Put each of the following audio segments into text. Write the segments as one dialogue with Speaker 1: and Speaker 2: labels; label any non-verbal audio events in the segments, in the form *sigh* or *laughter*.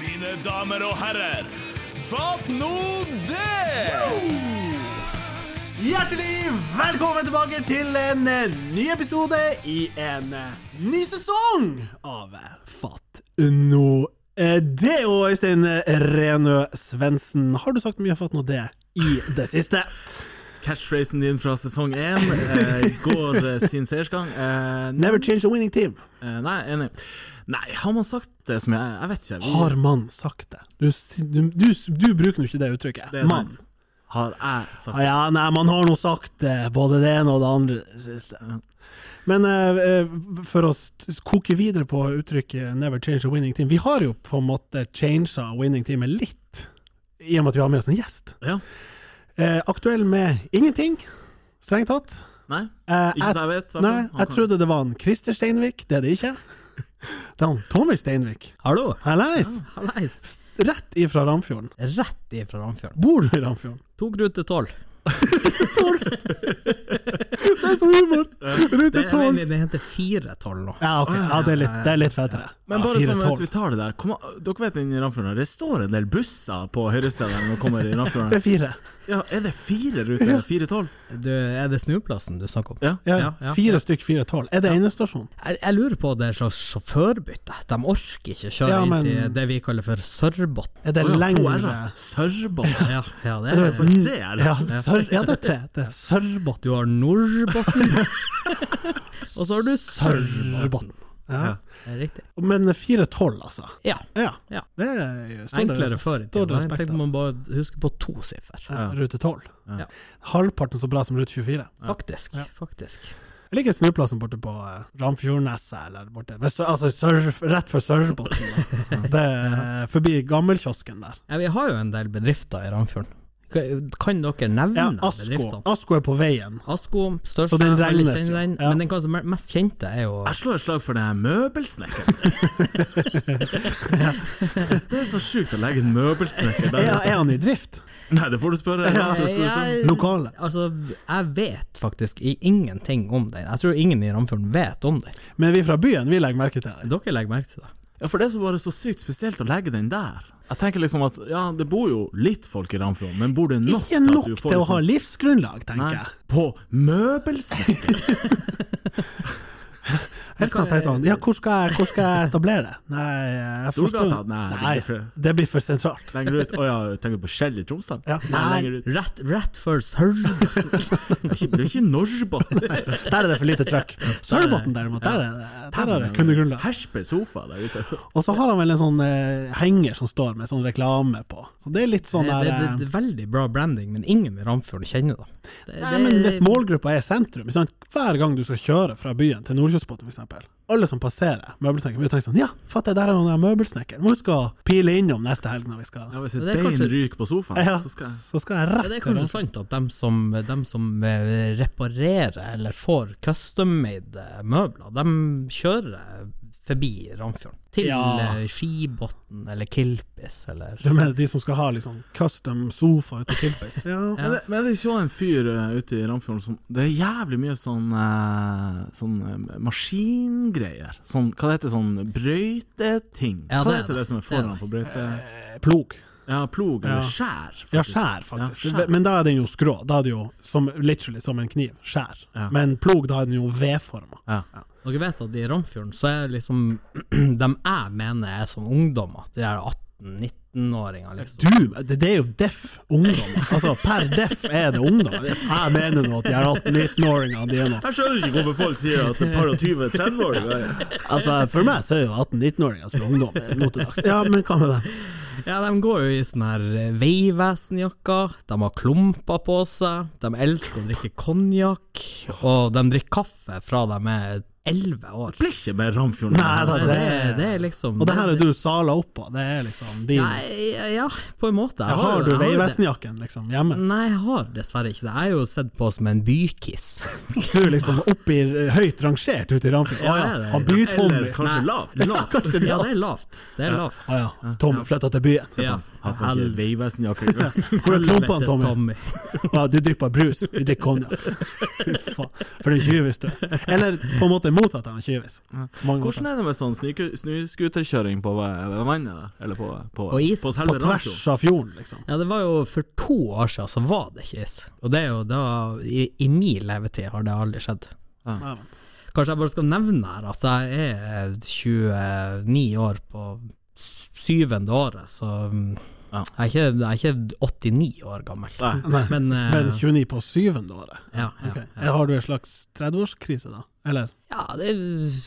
Speaker 1: mine damer og herrer. Fatt nå det!
Speaker 2: Hjertelig velkommen tilbake til en eh, ny episode i en eh, ny sesong av eh, Fatt nå eh, det. Og Øystein Renø Svendsen, har du sagt mye Fatt nå det i det siste?
Speaker 3: Catchphrasen din fra sesong én eh, går eh, sin seiersgang. Eh, n-
Speaker 2: Never change a winning team.
Speaker 3: eh, nei, enig. Nei, har man sagt det som jeg Jeg vet ikke. Vi-
Speaker 2: Har man sagt det? Du, si- du, du, du bruker nå ikke det uttrykket.
Speaker 3: det er
Speaker 2: mann.
Speaker 3: sant. Har jeg sagt
Speaker 2: Ah, ja, nei, man har nå sagt eh, både det ene og det andre i det siste. Men eh, eh, for å st- koke videre på uttrykket 'never change a winning team' Vi har jo på en måte changet winning teamet litt, i og med at vi har med oss en gjest.
Speaker 3: Ja.
Speaker 2: Eh, aktuell med ingenting, strengt tatt.
Speaker 3: Nei?
Speaker 2: Eh,
Speaker 3: Ikke så jeg vet. hvertfall.
Speaker 2: nei,
Speaker 3: Han
Speaker 2: jeg
Speaker 3: kan-
Speaker 2: trodde det var en Christer Steinvik, det er det ikke. Det er han Tommy Steinvik.
Speaker 4: Hallo!
Speaker 2: Hallais!
Speaker 4: Hallais!
Speaker 3: Ah.
Speaker 2: Rett ifra Ramfjorden.
Speaker 4: Rett ifra Ramfjorden.
Speaker 2: Bor du i Ramfjorden?
Speaker 4: Tok rute tolv.
Speaker 2: Det er så humor! Rute
Speaker 4: Det, jeg
Speaker 2: tolv!
Speaker 4: mener, det heter fire tolv nå.
Speaker 2: Ja, ok. Ja, det er litt, det er litt fetere.
Speaker 3: Men
Speaker 2: Ja,
Speaker 3: bare sånn
Speaker 2: 4-12.
Speaker 3: hvis vi tar det der kom, Dere vet den i Ramfjorden, det står en del busser på høyresida når man kommer i
Speaker 2: *laughs* Det
Speaker 3: Ramfjorden.
Speaker 2: er fire.
Speaker 3: Ja, er det fire ruter? Fire-tolv?
Speaker 4: Du, er det snuplassen du snakker om?
Speaker 3: Ja.
Speaker 2: Ja,
Speaker 4: Ja, ja.
Speaker 2: Fire stykk, fire tolv. Er det endestasjon?
Speaker 4: Jeg, jeg lurer på om det er et slags sjåførbytte. De orker ikke kjøre
Speaker 2: Ja, men-
Speaker 4: inn til det vi kaller for Sørbotn.
Speaker 2: Er det
Speaker 3: Å ja, to sånn
Speaker 2: lengre
Speaker 3: r-er. Sørbånd.
Speaker 4: Ja, ja, det
Speaker 2: Det
Speaker 4: er
Speaker 2: er
Speaker 4: det.
Speaker 3: faktisk tre, er det?
Speaker 2: Ja, sør, ja, det er tre. Det er Sørbotn.
Speaker 4: Du har Nordbotn, og så har du Sørbotn.
Speaker 2: Sørbotn. Ja.
Speaker 3: Ja.
Speaker 4: Det er Riktig.
Speaker 2: Men fire tolv, altså.
Speaker 4: Ja.
Speaker 2: Ja.
Speaker 4: Ja.
Speaker 2: Det er står det-
Speaker 4: Enklere før i
Speaker 2: står det
Speaker 4: tida. Jeg
Speaker 2: respekt
Speaker 4: tenkte
Speaker 2: av.
Speaker 4: man bare huske på to siffer.
Speaker 2: Ja, Rute tolv.
Speaker 3: Ja.
Speaker 2: Halvparten så bra som rute 24.
Speaker 4: Faktisk.
Speaker 2: Ja.
Speaker 4: Faktisk.
Speaker 2: Jeg liker snuplassen borte på eh, Ramfjordneset, eller borte ved Sø- Altså sør, rett for Sørbotn.
Speaker 3: *laughs*
Speaker 2: Det er forbi gammelkiosken der.
Speaker 4: Ja, vi har jo en del bedrifter i Ramfjorden. Kan- Kan dere nevne
Speaker 2: Ja,
Speaker 4: bedriftene?
Speaker 2: Asko. Asko er på veien.
Speaker 4: Asko, største,
Speaker 2: Så den
Speaker 4: alle
Speaker 2: regnes jo,
Speaker 4: kjenner den,
Speaker 2: ja.
Speaker 4: men den kanskje mer- mest kjente er jo
Speaker 3: Jeg slår et slag for den her møbelsnekkeren. *laughs* det er så sjukt å legge en møbelsnekker der.
Speaker 2: Er, er han i drift?
Speaker 3: Nei, det får du spørre.
Speaker 4: Eh, jeg-
Speaker 2: Lokale?
Speaker 4: Altså, jeg vet faktisk i- ingenting om den. Jeg tror ingen i Ramfjorden vet om den.
Speaker 2: Men vi fra byen, vi legger merke til det.
Speaker 4: Dere legger merke til det.
Speaker 3: Ja, for det er så bare så sykt spesielt å legge den der. Jeg tenker liksom at ja, det bor jo litt folk i Ramfjorden, men bor det nok
Speaker 2: Ikke nok
Speaker 3: til at du får
Speaker 2: til å ha
Speaker 3: liksom-
Speaker 2: livsgrunnlag, tenker
Speaker 3: Nei,
Speaker 2: jeg.
Speaker 3: på møbelsnekker?
Speaker 2: Helst kan jeg tenke sånn, ja, hvor skal jeg, hvor skal jeg etablere det? Nei, jeg får
Speaker 3: Storgata?
Speaker 2: spørre-
Speaker 3: Nei, det blir
Speaker 2: Nei,
Speaker 3: for-
Speaker 2: det blir for sentralt.
Speaker 3: Lenger ut? Å ja, tenker du på Skjell i Tromsdal?
Speaker 2: Ja.
Speaker 3: Nei, lenger ut.
Speaker 4: Rett, rett før
Speaker 2: *laughs*
Speaker 4: Sørlandet.
Speaker 3: Det er ikke, det er ikke Norrbotn.
Speaker 2: Der er det for lite trøkk. Sørbotn derimot, der er det der er det kundegrunnlag.
Speaker 3: Hersper sofa der ute.
Speaker 2: Og så har han vel en sånn eh, henger som står med sånn reklame på. Så det er litt sånn
Speaker 4: Det,
Speaker 2: der
Speaker 4: det, det,
Speaker 2: eh,
Speaker 4: det er veldig bra branding, men ingen i Ramfjorden kjenner dem. Det,
Speaker 2: Nei,
Speaker 4: det-
Speaker 2: men hvis målgruppa er sentrum, sant? hver gang du skal kjøre fra byen til Nordkjosbotn f.eks., alle som passerer møbelsnekkeren, vil tenke sånn Ja, fatter, der er han der møbelsnekkeren. Må huske å pile innom neste helg når vi skal
Speaker 3: Ja, hvis et
Speaker 4: Det er
Speaker 3: bein
Speaker 4: kanskje-
Speaker 3: ryker på sofaen,
Speaker 2: Ja,
Speaker 3: så skal jeg
Speaker 2: så skal jeg
Speaker 4: Ja,
Speaker 2: rett
Speaker 4: det er kanskje sant at dem som, dem som eh, reparerer eller får custom-made eh, møbler, dem kjører forbi Ramfjorden. Til
Speaker 2: Ja.
Speaker 4: eh, Skibotn eller Kilpis eller
Speaker 2: Du mener de som skal ha liksom custom sofa ute på Kilpis? Ja.
Speaker 3: Men, det, men det er ikke også en fyr eh, ute i Ramfjorden som Det er jævlig mye sånn, eh, sånn eh, maskingreier. Sånn, hva det heter sånn brøyteting?
Speaker 4: Ja,
Speaker 3: hva
Speaker 4: det er
Speaker 3: heter det,
Speaker 4: det.
Speaker 3: som er
Speaker 4: Det er
Speaker 3: foran på brøyte...?
Speaker 2: Eh, Plog.
Speaker 3: Ja, plog
Speaker 2: Ja.
Speaker 3: eller skjær. faktisk.
Speaker 2: Ja, skjær, faktisk.
Speaker 3: Ja, skjær.
Speaker 2: Men da er den jo skrå. Da er det jo som, literally som en kniv. Skjær.
Speaker 3: Ja.
Speaker 2: Men plog, da er den jo V-forma.
Speaker 3: Ja.
Speaker 4: Dere vet at i Ramfjorden så er liksom *clears throat* dem jeg mener er som ungdommer, de der 18-19-åringene, liksom.
Speaker 2: Du, det, det er jo deff ungdom. Altså, per deff er det ungdom. Jeg mener nå at de er 18-19-åringer, de er nå
Speaker 3: Jeg skjønner ikke hvorfor folk sier at et par og 20-30-åringer
Speaker 4: *laughs*
Speaker 2: Altså, for meg så er jo 18-19-åringer som er ungdom eh, nå til dags. Ja, men hva med det?
Speaker 4: Ja, de går jo i sånne her eh, veivesenjakker, de har klumper på seg, de elsker å drikke konjakk, og de drikker kaffe fra de er 11 år.
Speaker 3: Blir ikke mer Ramfjorden.
Speaker 2: Nei da,
Speaker 4: Nei,
Speaker 2: det,
Speaker 4: det, det er liksom
Speaker 2: Og det her er du sala opp på. Det er liksom din
Speaker 4: Nei, ja, på en måte. Jeg
Speaker 2: Ja, har du
Speaker 4: jeg jo det. Mm.
Speaker 2: Vegvesenjakken liksom hjemme?
Speaker 4: Nei, jeg har dessverre ikke det. Jeg er jo sett på som en bykiss.
Speaker 2: Du er liksom oppi høyt rangert ute i Ramfjord. Å
Speaker 4: Ja,
Speaker 2: ja,
Speaker 4: det er-
Speaker 2: han byr-Tommy.
Speaker 3: Eller kanskje
Speaker 4: Nei.
Speaker 3: lavt.
Speaker 4: Lavt. Ja, det er lavt. Det er lavt.
Speaker 2: Å ja, Tommy flytta til byen.
Speaker 4: Ja.
Speaker 3: Jeg får ikke Vegvesenjakke engang.
Speaker 4: *laughs*
Speaker 2: Hvor er klumpene,
Speaker 4: Helvetes
Speaker 2: Tommy?
Speaker 4: Tommy.
Speaker 2: Ja, du drikker brus, vi drikker konjakk. Fy faen. For en tjuvis, du. Eller på en måte motsatt av en tjuvis. Mange
Speaker 3: Hvordan er det med sånn snyku- snøscooterkjøring på ve- vannet? da? Eller på, på,
Speaker 4: På is?
Speaker 3: På,
Speaker 2: måter.
Speaker 3: selve
Speaker 2: På tvers
Speaker 3: Rancho?
Speaker 2: av fjorden, liksom.
Speaker 4: Ja, det var jo for to år siden så var det ikke is. Og det er jo da I, i min levetid har det aldri skjedd.
Speaker 2: Nei, men.
Speaker 4: Kanskje jeg bare skal nevne her at jeg er 29 år på s- syvende året, så mm,
Speaker 3: Ja.
Speaker 4: jeg, er ikke, jeg er ikke 89 år gammel.
Speaker 3: Nei.
Speaker 2: Nei.
Speaker 4: Men, eh,
Speaker 2: Men 29 på syvende året?
Speaker 4: ja, ja,
Speaker 2: Ok.
Speaker 4: ja.
Speaker 2: Har du en slags 30-årskrise, da? Eller?
Speaker 4: ja det,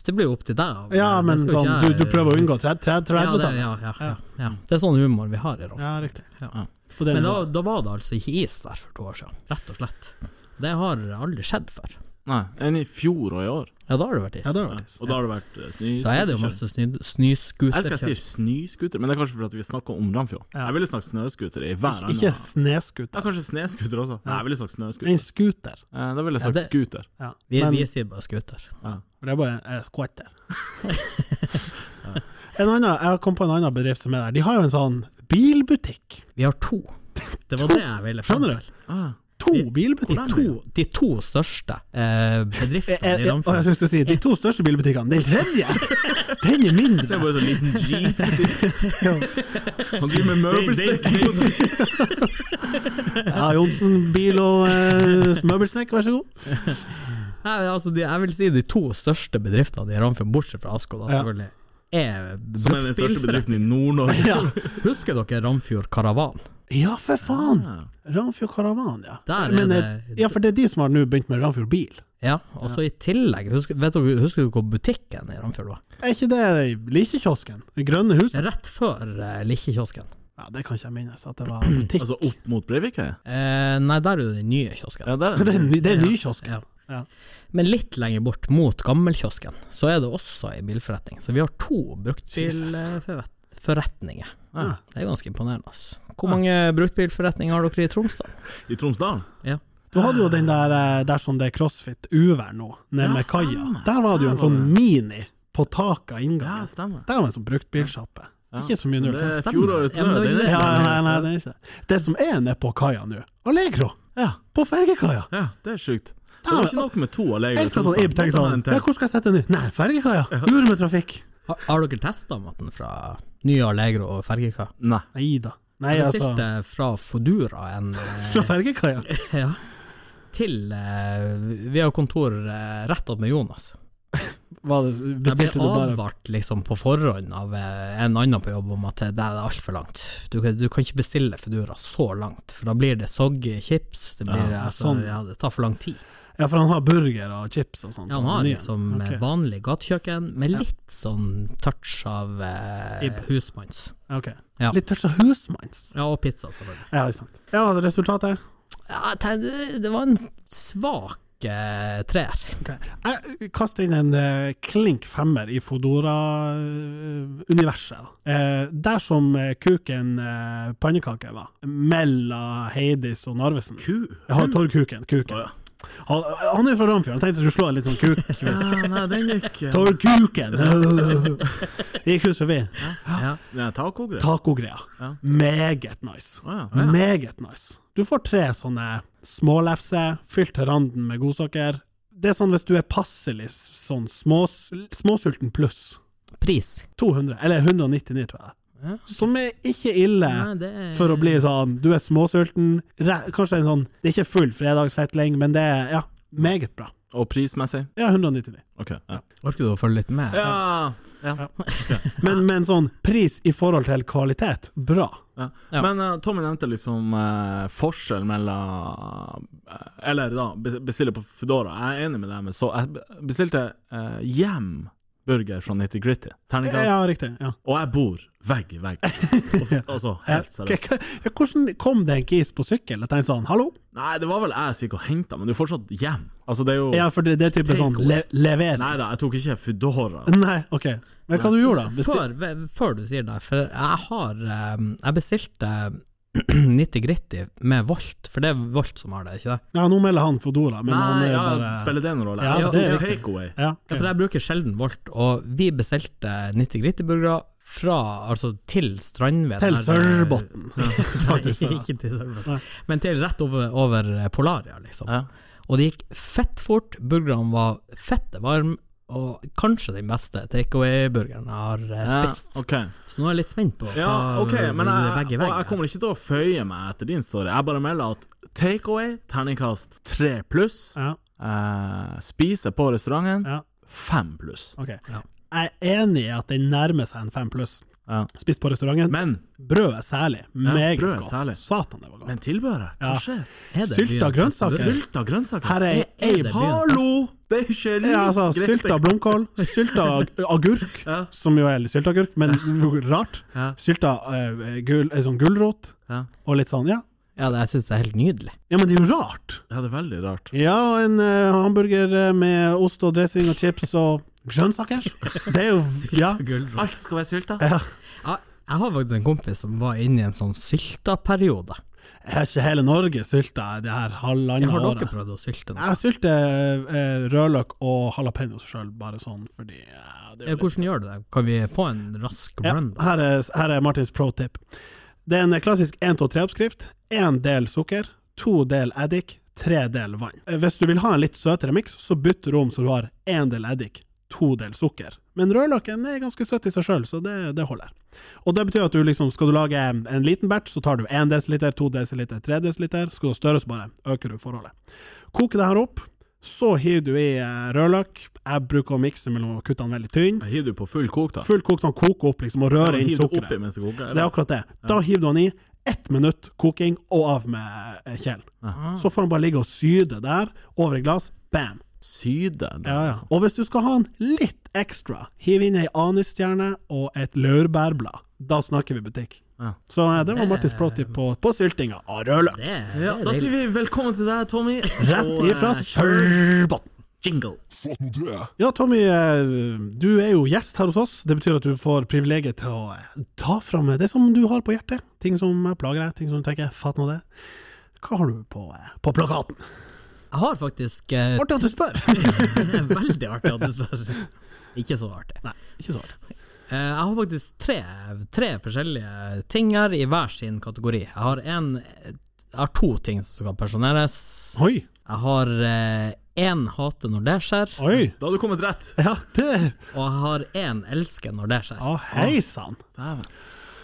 Speaker 4: det blir jo opp til deg. men
Speaker 2: Ja,
Speaker 4: det
Speaker 2: men
Speaker 4: skal ikke
Speaker 2: sånn,
Speaker 4: jeg-
Speaker 2: du, du prøver å unngå 30-tallet?
Speaker 4: ja, det, ja, ja, ja, ja. Det er sånn humor vi har i Rom.
Speaker 2: Ja, riktig.
Speaker 3: Ja.
Speaker 2: På den
Speaker 4: Men da,
Speaker 2: måten.
Speaker 4: da var det altså ikke is der for to år siden, rett og slett. Det har aldri skjedd før.
Speaker 3: Nei. Enn i fjor og i år.
Speaker 4: Ja, da har det vært is.
Speaker 2: ja, det var det.
Speaker 3: Og da har det vært eh, snøscooterkjøring.
Speaker 4: Da er det jo masse
Speaker 3: Jeg elsker jeg
Speaker 4: snøscooterkjøring.
Speaker 3: sier snøscooter, men det er kanskje fordi at vi snakker om Ramfjord.
Speaker 2: Ja.
Speaker 3: Jeg ville snakket snøscooter i hver annen
Speaker 2: Ikke
Speaker 3: Ja,
Speaker 2: sneskuter.
Speaker 3: kanskje snescooter også. Nei, jeg ville snakket snøscooter.
Speaker 2: En scooter.
Speaker 3: Eh, Da ville jeg
Speaker 4: Ja,
Speaker 3: sagt
Speaker 4: det-
Speaker 3: scooter.
Speaker 2: Ja.
Speaker 4: Vi,
Speaker 2: Men
Speaker 4: vi sier bare scooter.
Speaker 2: det er bare en eh,
Speaker 4: *laughs*
Speaker 2: squatter. en annen, jeg kom på en annen bedrift som er der. De har jo en sånn bilbutikk.
Speaker 4: Vi har to. *laughs* Det var det jeg ville
Speaker 2: Skjønner du?
Speaker 3: Ah.
Speaker 2: To
Speaker 4: De- De
Speaker 2: bilbutikker.
Speaker 4: to, de to største eh, *laughs* bedriftene
Speaker 2: Jeg, jeg,
Speaker 4: i
Speaker 2: og jeg
Speaker 4: Ramfjord.
Speaker 2: skulle til å si de to største bilbutikkene. Den
Speaker 4: *laughs*
Speaker 2: tredje, den er
Speaker 3: Det er
Speaker 2: mindre.
Speaker 3: bare sånn liten jeep. Han driver med møbelstekking.
Speaker 2: Ja, Johnsen bil og eh, møbelsnekk, vær så god.
Speaker 4: Nei, altså, de, jeg vil si de to største bedriftene i Ramfjord, bortsett fra Asko, da,
Speaker 2: Ja.
Speaker 4: selvfølgelig. Er
Speaker 3: Som er den største
Speaker 4: bruktbilforretning.
Speaker 3: bedriften i Nord-Norge.
Speaker 2: Ja,
Speaker 4: Husker dere Ramfjord Karavan?
Speaker 2: ja for faen! Ramfjord Karavan, Ah. ja.
Speaker 4: Der er
Speaker 2: Men,
Speaker 4: det-
Speaker 2: eh, ja, for det er de som har nå begynt med Ramfjord bil.
Speaker 4: Ja, og så i tillegg, husker, vet dere, husker dere hvor butikken i Ramfjord var?
Speaker 2: Er ikke det Likekiosken? Det grønne huset?
Speaker 4: Rett før eh, Likkjekiosken.
Speaker 2: Ja, det kan ikke jeg minnes at det var butikk.
Speaker 3: Altså opp mot Breivikheia?
Speaker 4: Eh, nei, der er jo den nye kiosken.
Speaker 3: Ja, der
Speaker 2: *laughs*
Speaker 3: er
Speaker 2: Det er,
Speaker 3: den.
Speaker 2: ny- det er Nykiosken.
Speaker 4: Ja.
Speaker 2: Ja.
Speaker 4: Men litt lenger bort, mot gammelkiosken, så er det også ei bilforretning. Så vi har to bruktbilforretninger.
Speaker 2: Ah.
Speaker 3: Ja.
Speaker 4: Det er ganske imponerende. ass. Hvor mange bruktbilforretninger har dere i Troms, da?
Speaker 3: I Tromsdalen?
Speaker 2: Du hadde jo den der eh, der som det er crossfit uvær nå, nede
Speaker 3: Ja,
Speaker 2: med kaia.
Speaker 3: stemmer.
Speaker 2: Der var det jo en
Speaker 3: Der var
Speaker 2: sånn
Speaker 3: det.
Speaker 2: mini på taket av
Speaker 3: Ja,
Speaker 2: inngangen.
Speaker 3: stemmer.
Speaker 2: Der var en sånn bruktbilsjappe.
Speaker 3: Ja.
Speaker 2: Ikke så mye nå.
Speaker 3: Det er
Speaker 4: stemmer.
Speaker 3: fjorårets
Speaker 4: Ja, men
Speaker 3: snø.
Speaker 4: det var
Speaker 3: det
Speaker 4: ikke
Speaker 3: er
Speaker 2: Ja,
Speaker 3: det.
Speaker 2: nei, nei, det er ikke det. Det som er nede på kaia nå, Allegro!
Speaker 3: Ja,
Speaker 2: På fergekaia!
Speaker 3: ja, det er sjukt.
Speaker 2: Ja,
Speaker 3: Så det var
Speaker 2: men-
Speaker 3: ikke nok med to
Speaker 2: Jeg
Speaker 3: Allegro.
Speaker 2: elsker at han Ib tenker sånn Ja, hvor skal jeg sette den nå? Nei, fergekaia! Ur med trafikk!
Speaker 4: Har, har dere testa maten fra nye Allegro og fergeka?
Speaker 3: Nei.
Speaker 2: Nei da. Nei,
Speaker 4: Jeg
Speaker 2: altså.
Speaker 4: bestilte eh, fra Fodura en eh,
Speaker 2: Fra fergekaia?
Speaker 4: ja, til eh, Vi har kontor eh, rett opp med Jonas.
Speaker 2: Var det-
Speaker 4: Jeg ble
Speaker 2: Bestilte du bare
Speaker 4: advart liksom på forhånd av eh, en annen på jobb om at eh, det er altfor langt. Du, kan- du kan ikke bestille Foodora så langt, for da blir det soggy chips. Det, blir,
Speaker 2: Ja,
Speaker 4: altså,
Speaker 2: sånn.
Speaker 4: ja, det tar for lang tid.
Speaker 2: Ja, for han har burger og chips og sånt.
Speaker 4: Ja, han
Speaker 2: på
Speaker 4: har
Speaker 2: menyen.
Speaker 4: liksom
Speaker 2: Ok.
Speaker 4: eh, vanlig gatekjøkken, med
Speaker 2: Ja.
Speaker 4: litt sånn touch av eh,
Speaker 2: Ibb.
Speaker 4: husmanns.
Speaker 2: Ok.
Speaker 4: Ja.
Speaker 2: Litt touch av husmanns.
Speaker 4: Ja, og pizza, selvfølgelig.
Speaker 2: Ja, ikke sant. Ja, resultatet?
Speaker 4: Ja, jeg tenkte- det var en svak eh, treer.
Speaker 2: Ok. Jeg kaster inn en eh, klink femmer i Fodora-universet. Eh, der som eh, kuken eh, pannekake var, mellom Heidis og Narvesen.
Speaker 3: Ku?
Speaker 2: Ja, Torgkuken. Kuken.
Speaker 3: Å, ja.
Speaker 2: Han, han er jo fra Ramfjord, jeg tenkte jeg skulle slå en litt sånn
Speaker 3: *laughs*
Speaker 2: kuk.
Speaker 3: Ja, nei, den gikk eh, *laughs*
Speaker 2: Torgkuken! Det gikk hus forbi.
Speaker 4: Ja.
Speaker 3: Nei, Tacogreier?
Speaker 2: Tacogreier.
Speaker 3: Ja.
Speaker 2: Meget nice.
Speaker 3: Å, ja.
Speaker 2: Meget nice. Du får tre sånne smålefse, fylt til randen med godsaker. Det er sånn hvis du er passelig s- sånn smås, småsulten pluss.
Speaker 4: Pris.
Speaker 2: 200, eller 199, tror jeg.
Speaker 4: Ja.
Speaker 2: Som er ikke ille
Speaker 4: Nei, det er-
Speaker 2: for å bli sånn Du er småsulten, re- kanskje en sånn Det er ikke full fredagsfetling, men det er ja, meget bra.
Speaker 3: Og prismessig?
Speaker 2: Ja, 199.
Speaker 3: OK. Ja.
Speaker 4: Orker du å følge litt med?
Speaker 3: Ja.
Speaker 2: Men med en sånn pris i forhold til kvalitet, bra.
Speaker 3: Ja.
Speaker 4: Ja.
Speaker 3: Men eh, Tommy nevnte liksom eh, forskjell mellom eh, Eller da, be- bestille på Foodora. Jeg er enig med deg, men så jeg be- bestilte eh, hjem burger fra Nitty Gritty. Terningkast.
Speaker 2: Ja, riktig. Ja.
Speaker 3: Og jeg bor vegg
Speaker 2: *laughs*
Speaker 3: i vegg. Og- Altså, helt
Speaker 2: Ja,
Speaker 3: seriøst.
Speaker 2: k- k- Hvordan kom det en gis på sykkel? Jeg tenkte sånn, hallo?
Speaker 3: Nei, det var vel jeg som gikk og henta, men du er fortsatt hjem. Altså, det er jo
Speaker 2: Ja, for det, det er type
Speaker 3: Take
Speaker 2: sånn le lever. Nei.
Speaker 3: Nei da, jeg tok ikke Foodora.
Speaker 2: ok. Men hva du gjorde da? Besti-
Speaker 4: Før, ve- før du sier det, for jeg har eh, Jeg bestilte *clears throat* 90 Gritti med Volt, for det er Volt som har det, ikke det?
Speaker 2: Ja, nå melder han Fodora, men han
Speaker 3: Nei,
Speaker 2: er jo
Speaker 3: ja,
Speaker 2: bare
Speaker 3: spiller det noen rolle?
Speaker 2: Ja,
Speaker 3: Jeg
Speaker 2: det er
Speaker 3: tok takeaway.
Speaker 2: Ja, ok.
Speaker 4: Ja, for jeg bruker sjelden Volt, og vi bestilte 90 Gritti-burgere fra, altså til Strandveien.
Speaker 2: Til
Speaker 4: her-
Speaker 2: Sørbotn. *laughs*
Speaker 4: Nei,
Speaker 3: *laughs*
Speaker 4: ikke til Sørbotn. Men til rett over, over Polaria, liksom.
Speaker 3: Ja.
Speaker 4: Og det gikk fett fort. Burgerne var fette varme, og kanskje den beste takeaway-burgeren jeg har eh,
Speaker 3: Ja,
Speaker 4: spist.
Speaker 3: ok.
Speaker 4: Så nå er jeg litt spent på
Speaker 3: Ja,
Speaker 4: hva
Speaker 3: ok, men
Speaker 4: det
Speaker 3: jeg,
Speaker 4: begge
Speaker 3: og
Speaker 4: veier
Speaker 3: jeg kommer ikke til å føye meg etter din story. Jeg bare melder at takeaway, terningkast tre pluss.
Speaker 2: Ja,
Speaker 3: Eh, spise på restauranten,
Speaker 2: ja,
Speaker 3: fem pluss.
Speaker 2: ok.
Speaker 4: Ja.
Speaker 2: Jeg er enig i at den nærmer seg en fem pluss.
Speaker 3: Ja.
Speaker 2: Spist på restauranten.
Speaker 3: Men,
Speaker 2: Brødet særlig. Meget
Speaker 3: brødet
Speaker 2: godt.
Speaker 3: særlig.
Speaker 2: Satan, det var godt.
Speaker 3: men tilbehøret, hva
Speaker 2: Ja.
Speaker 3: skjer?
Speaker 4: Er det
Speaker 2: Sylt av
Speaker 4: byens beste
Speaker 2: grønnsaker.
Speaker 4: burger?
Speaker 3: Sylt av grønnsaker?
Speaker 2: Her er
Speaker 4: Er
Speaker 2: ei
Speaker 4: det byens
Speaker 2: hallo!
Speaker 3: Det er ikke litt
Speaker 2: Ja, altså,
Speaker 3: greit.
Speaker 2: sylta blomkål, sylta ag- agurk,
Speaker 3: Ja.
Speaker 2: som jo er litt sylteagurk, men rart.
Speaker 3: *laughs* Ja.
Speaker 2: Sylta eh, gul, eh, sånn gulrot,
Speaker 3: Ja.
Speaker 2: og litt sånn, ja.
Speaker 4: altså? Ja, det, jeg syns det er helt nydelig.
Speaker 2: Ja, men det er jo rart.
Speaker 3: Ja, det er veldig rart.
Speaker 2: Ja, og en eh, hamburger eh, med ost og dressing og chips og grønnsaker. Det *laughs* er jo Ja.
Speaker 4: Gulrot.
Speaker 3: Alt skal være sylta.
Speaker 2: Ja.
Speaker 4: Ja, Jeg har faktisk en kompis som var inne i en sånn syltaperiode.
Speaker 2: Er ikke hele Norge sylta det her halvannet
Speaker 4: Har
Speaker 2: året?
Speaker 4: dere prøvd å sylte noe?
Speaker 2: Jeg sylter eh, rødløk og jalapeños sjøl, bare sånn fordi ja, det er
Speaker 4: Ja,
Speaker 2: jo litt-
Speaker 4: Eh, hvordan gjør du det? Kan vi få en rask
Speaker 2: Ja,
Speaker 4: run? da?
Speaker 2: her, er, her er Martins pro tip. Det er en klassisk 1-2-3-oppskrift. Én del sukker, to del eddik, tre del vann. Eh, Hvis du vil ha en litt søtere miks, så bytter du om så du har én del eddik, to del sukker. Men rødløken er ganske søt i seg sjøl, så det, det holder. Og det betyr at du liksom, skal du lage en liten batch, så tar du 1 dl, 2 dl, 3 dl. Skal du ha større, så bare øker du forholdet. Koke det her opp. Så hiver du i eh, rødløk. Jeg bruker å mikse mellom å kutte den veldig tynn.
Speaker 3: Hiver du på full kok, da?
Speaker 2: Fullt kokt, sånn koke opp liksom, og røre inn
Speaker 3: Hiver du oppi
Speaker 2: sukkeret.
Speaker 3: mens det koker?
Speaker 2: Det er
Speaker 3: eller?
Speaker 2: akkurat det. Da hiver du han i. Ett minutt koking, og av med eh, kjelen.
Speaker 3: Aha.
Speaker 2: Så får han bare ligge og syde der, over et glass. Bam!
Speaker 3: Syde. det,
Speaker 2: Ja, ja.
Speaker 3: altså.
Speaker 2: Og hvis du skal ha han litt ekstra, hiv inn ei anisstjerne og et laurbærblad. Da snakker vi butikk.
Speaker 3: Ja.
Speaker 2: Så eh, det var Martins pro tip på, på syltinga av rødløk.
Speaker 4: Det, er-
Speaker 3: Ja,
Speaker 4: det
Speaker 3: da
Speaker 4: er
Speaker 3: sier
Speaker 4: deilig.
Speaker 3: vi velkommen til deg, Tommy.
Speaker 2: Rett
Speaker 3: Og, eh,
Speaker 2: ifra Sørbotn.
Speaker 3: Jingle.
Speaker 2: Ja, Tommy, eh, du er jo gjest her hos oss. Det betyr at du får privilegiet til å eh, ta fram det som du har på hjertet. Ting som eh, plager deg, ting som du tenker 'fatt nå det'. Hva har du på, eh, på plakaten?
Speaker 4: Jeg har faktisk eh,
Speaker 2: Artig at du spør!
Speaker 4: Veldig artig at du spør. *laughs* Ikke så artig.
Speaker 2: Nei, ikke så artig.
Speaker 4: Eh, Jeg har faktisk tre, tre forskjellige ting her i hver sin kategori. Jeg har, en, jeg har to ting som skal pensjoneres.
Speaker 2: Oi,
Speaker 4: Jeg har én hate når det skjer,
Speaker 2: oi.
Speaker 3: eh, Da har du kommet rett.
Speaker 2: Ja, det
Speaker 4: og jeg har én elsker når det skjer.
Speaker 2: Ja, hei sann.
Speaker 3: Dæven.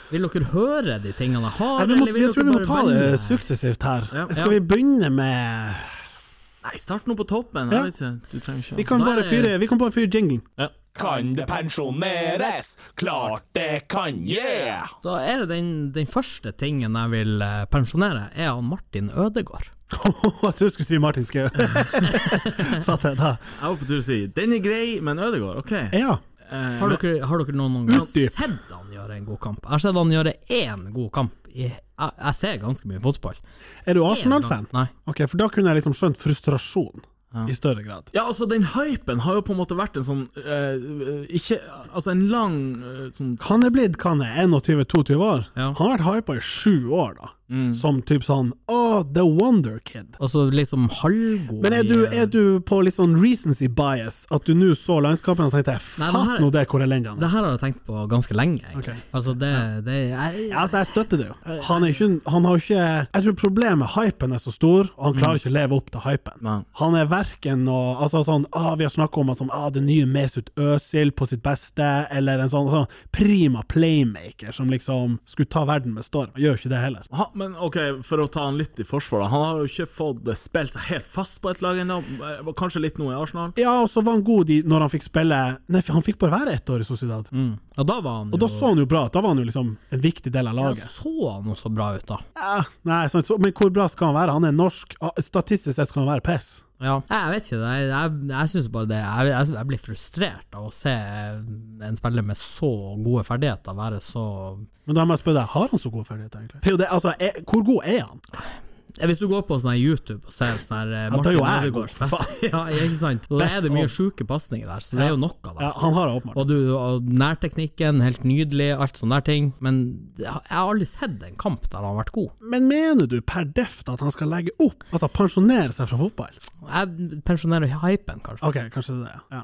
Speaker 4: Vil dere høre de tingene jeg
Speaker 2: Nei,
Speaker 4: har,
Speaker 2: vi må-
Speaker 4: eller vil
Speaker 2: Jeg tror vi må
Speaker 4: dere bare
Speaker 2: ta det
Speaker 4: velge?
Speaker 2: suksessivt her.
Speaker 3: Ja.
Speaker 2: Skal vi begynne med
Speaker 3: Nei, start nå på toppen.
Speaker 2: Ja.
Speaker 3: Jeg vet ikke, du trenger
Speaker 2: Vi
Speaker 3: ikke
Speaker 2: kan
Speaker 4: Nei,
Speaker 2: bare
Speaker 4: det-
Speaker 2: fyre, vi kan bare fyre jinglen. *laughs*
Speaker 1: Kan det pensjoneres? Klart det kan, yeah!
Speaker 4: Så er det den, den første tingen jeg vil eh, pensjonere, er han Martin Ødegaard.
Speaker 2: jeg tror du skulle si Martin Skau. Satt jeg da.
Speaker 3: Jeg var på tur til å si den er grei, men Ødegaard, OK.
Speaker 2: Ja.
Speaker 3: Eh,
Speaker 4: Har dere, har dere noen, noen gang
Speaker 2: Utdyp.
Speaker 4: sett han gjøre en god kamp? Jeg har sett han gjøre én god kamp. I, jeg, jeg ser ganske mye fotball.
Speaker 2: Er du
Speaker 4: En gang-
Speaker 2: Arsenal-fan?
Speaker 4: Nei.
Speaker 2: Ok, for da kunne jeg liksom skjønt frustrasjon i større grad.
Speaker 3: Ja, altså Den hypen har jo på en måte vært en sånn eh, Ikke Altså en lang eh, sånn
Speaker 2: Han er blitt kan jeg, 21-22 år.
Speaker 4: Ja. Mm.
Speaker 2: Han har vært hypa i sju år, da. Som typ sånn Å, The Wonder Kid.
Speaker 4: Og så liksom halvgod
Speaker 2: Men er
Speaker 4: i- eh,
Speaker 2: du, er du på litt sånn recency bias, at du nå så landskampen og tenkte
Speaker 4: Nei, men
Speaker 2: fatt
Speaker 4: her-
Speaker 2: nå det, hvor elendig han er?
Speaker 4: Det her har jeg tenkt på ganske lenge.
Speaker 2: Ok.
Speaker 4: egentlig. Altså, det, det jeg,
Speaker 2: Ja, altså, jeg støtter det jo. Han, er ikke, han har jo ikke Jeg tror problemet hypen er så stor, og han klarer ikke å leve opp til hypen.
Speaker 3: Nei.
Speaker 2: Han er verken noe altså, sånn ah, Vi har snakka om at sånn, ah, det nye Mesut Özil på sitt beste, eller en sånn, sånn prima playmaker som liksom skulle ta verden med storm. Han Gjør jo ikke det heller.
Speaker 3: ha, Men OK, for å ta han litt i forsvar, da. Han har jo ikke fått eh, spilt seg helt fast på et lag ennå. Eh, Kanskje litt nå i Arsenal.
Speaker 2: Ja, og så var han god i, når han fikk spille Nei, han fikk bare være ett år i Sociedad.
Speaker 4: mm. Og da var han
Speaker 2: Og
Speaker 4: jo
Speaker 2: da så han jo bra ut. Da var han jo liksom en viktig del av
Speaker 4: ja,
Speaker 2: laget.
Speaker 4: så han jo så bra ut, da.
Speaker 2: Ja, nei, sant, så, men hvor bra skal han være? Han er norsk. Ah, Statistisk sett skal han være piss.
Speaker 4: Ja. Jeg vet ikke, jeg, jeg, jeg syns bare det jeg, jeg, jeg blir frustrert av å se en spiller med så gode ferdigheter være så
Speaker 2: Men da må jeg spørre deg, har han så gode ferdigheter, egentlig? Det er jo det, altså, er, hvor god er han?
Speaker 4: Hvis du går på sånn her YouTube og ser sånn her eh,
Speaker 2: Ja, da er jo
Speaker 4: Martin
Speaker 2: jeg
Speaker 4: Ødegaards
Speaker 2: god.
Speaker 4: best- *laughs* Ja, ikke sant? Da
Speaker 2: Best
Speaker 4: er det mye
Speaker 2: of.
Speaker 4: sjuke pasninger der, så det er jo noe, da.
Speaker 2: Ja, han har det åpenbart.
Speaker 4: Og du, og nærteknikken, helt nydelig, alt sånne der ting. Men jeg har aldri sett en kamp der han har vært god.
Speaker 2: Men mener du per deft at han skal legge opp, altså pensjonere seg fra fotball?
Speaker 4: Jeg pensjonerer hypen, kanskje.
Speaker 2: Ok, kanskje det er det. Ja.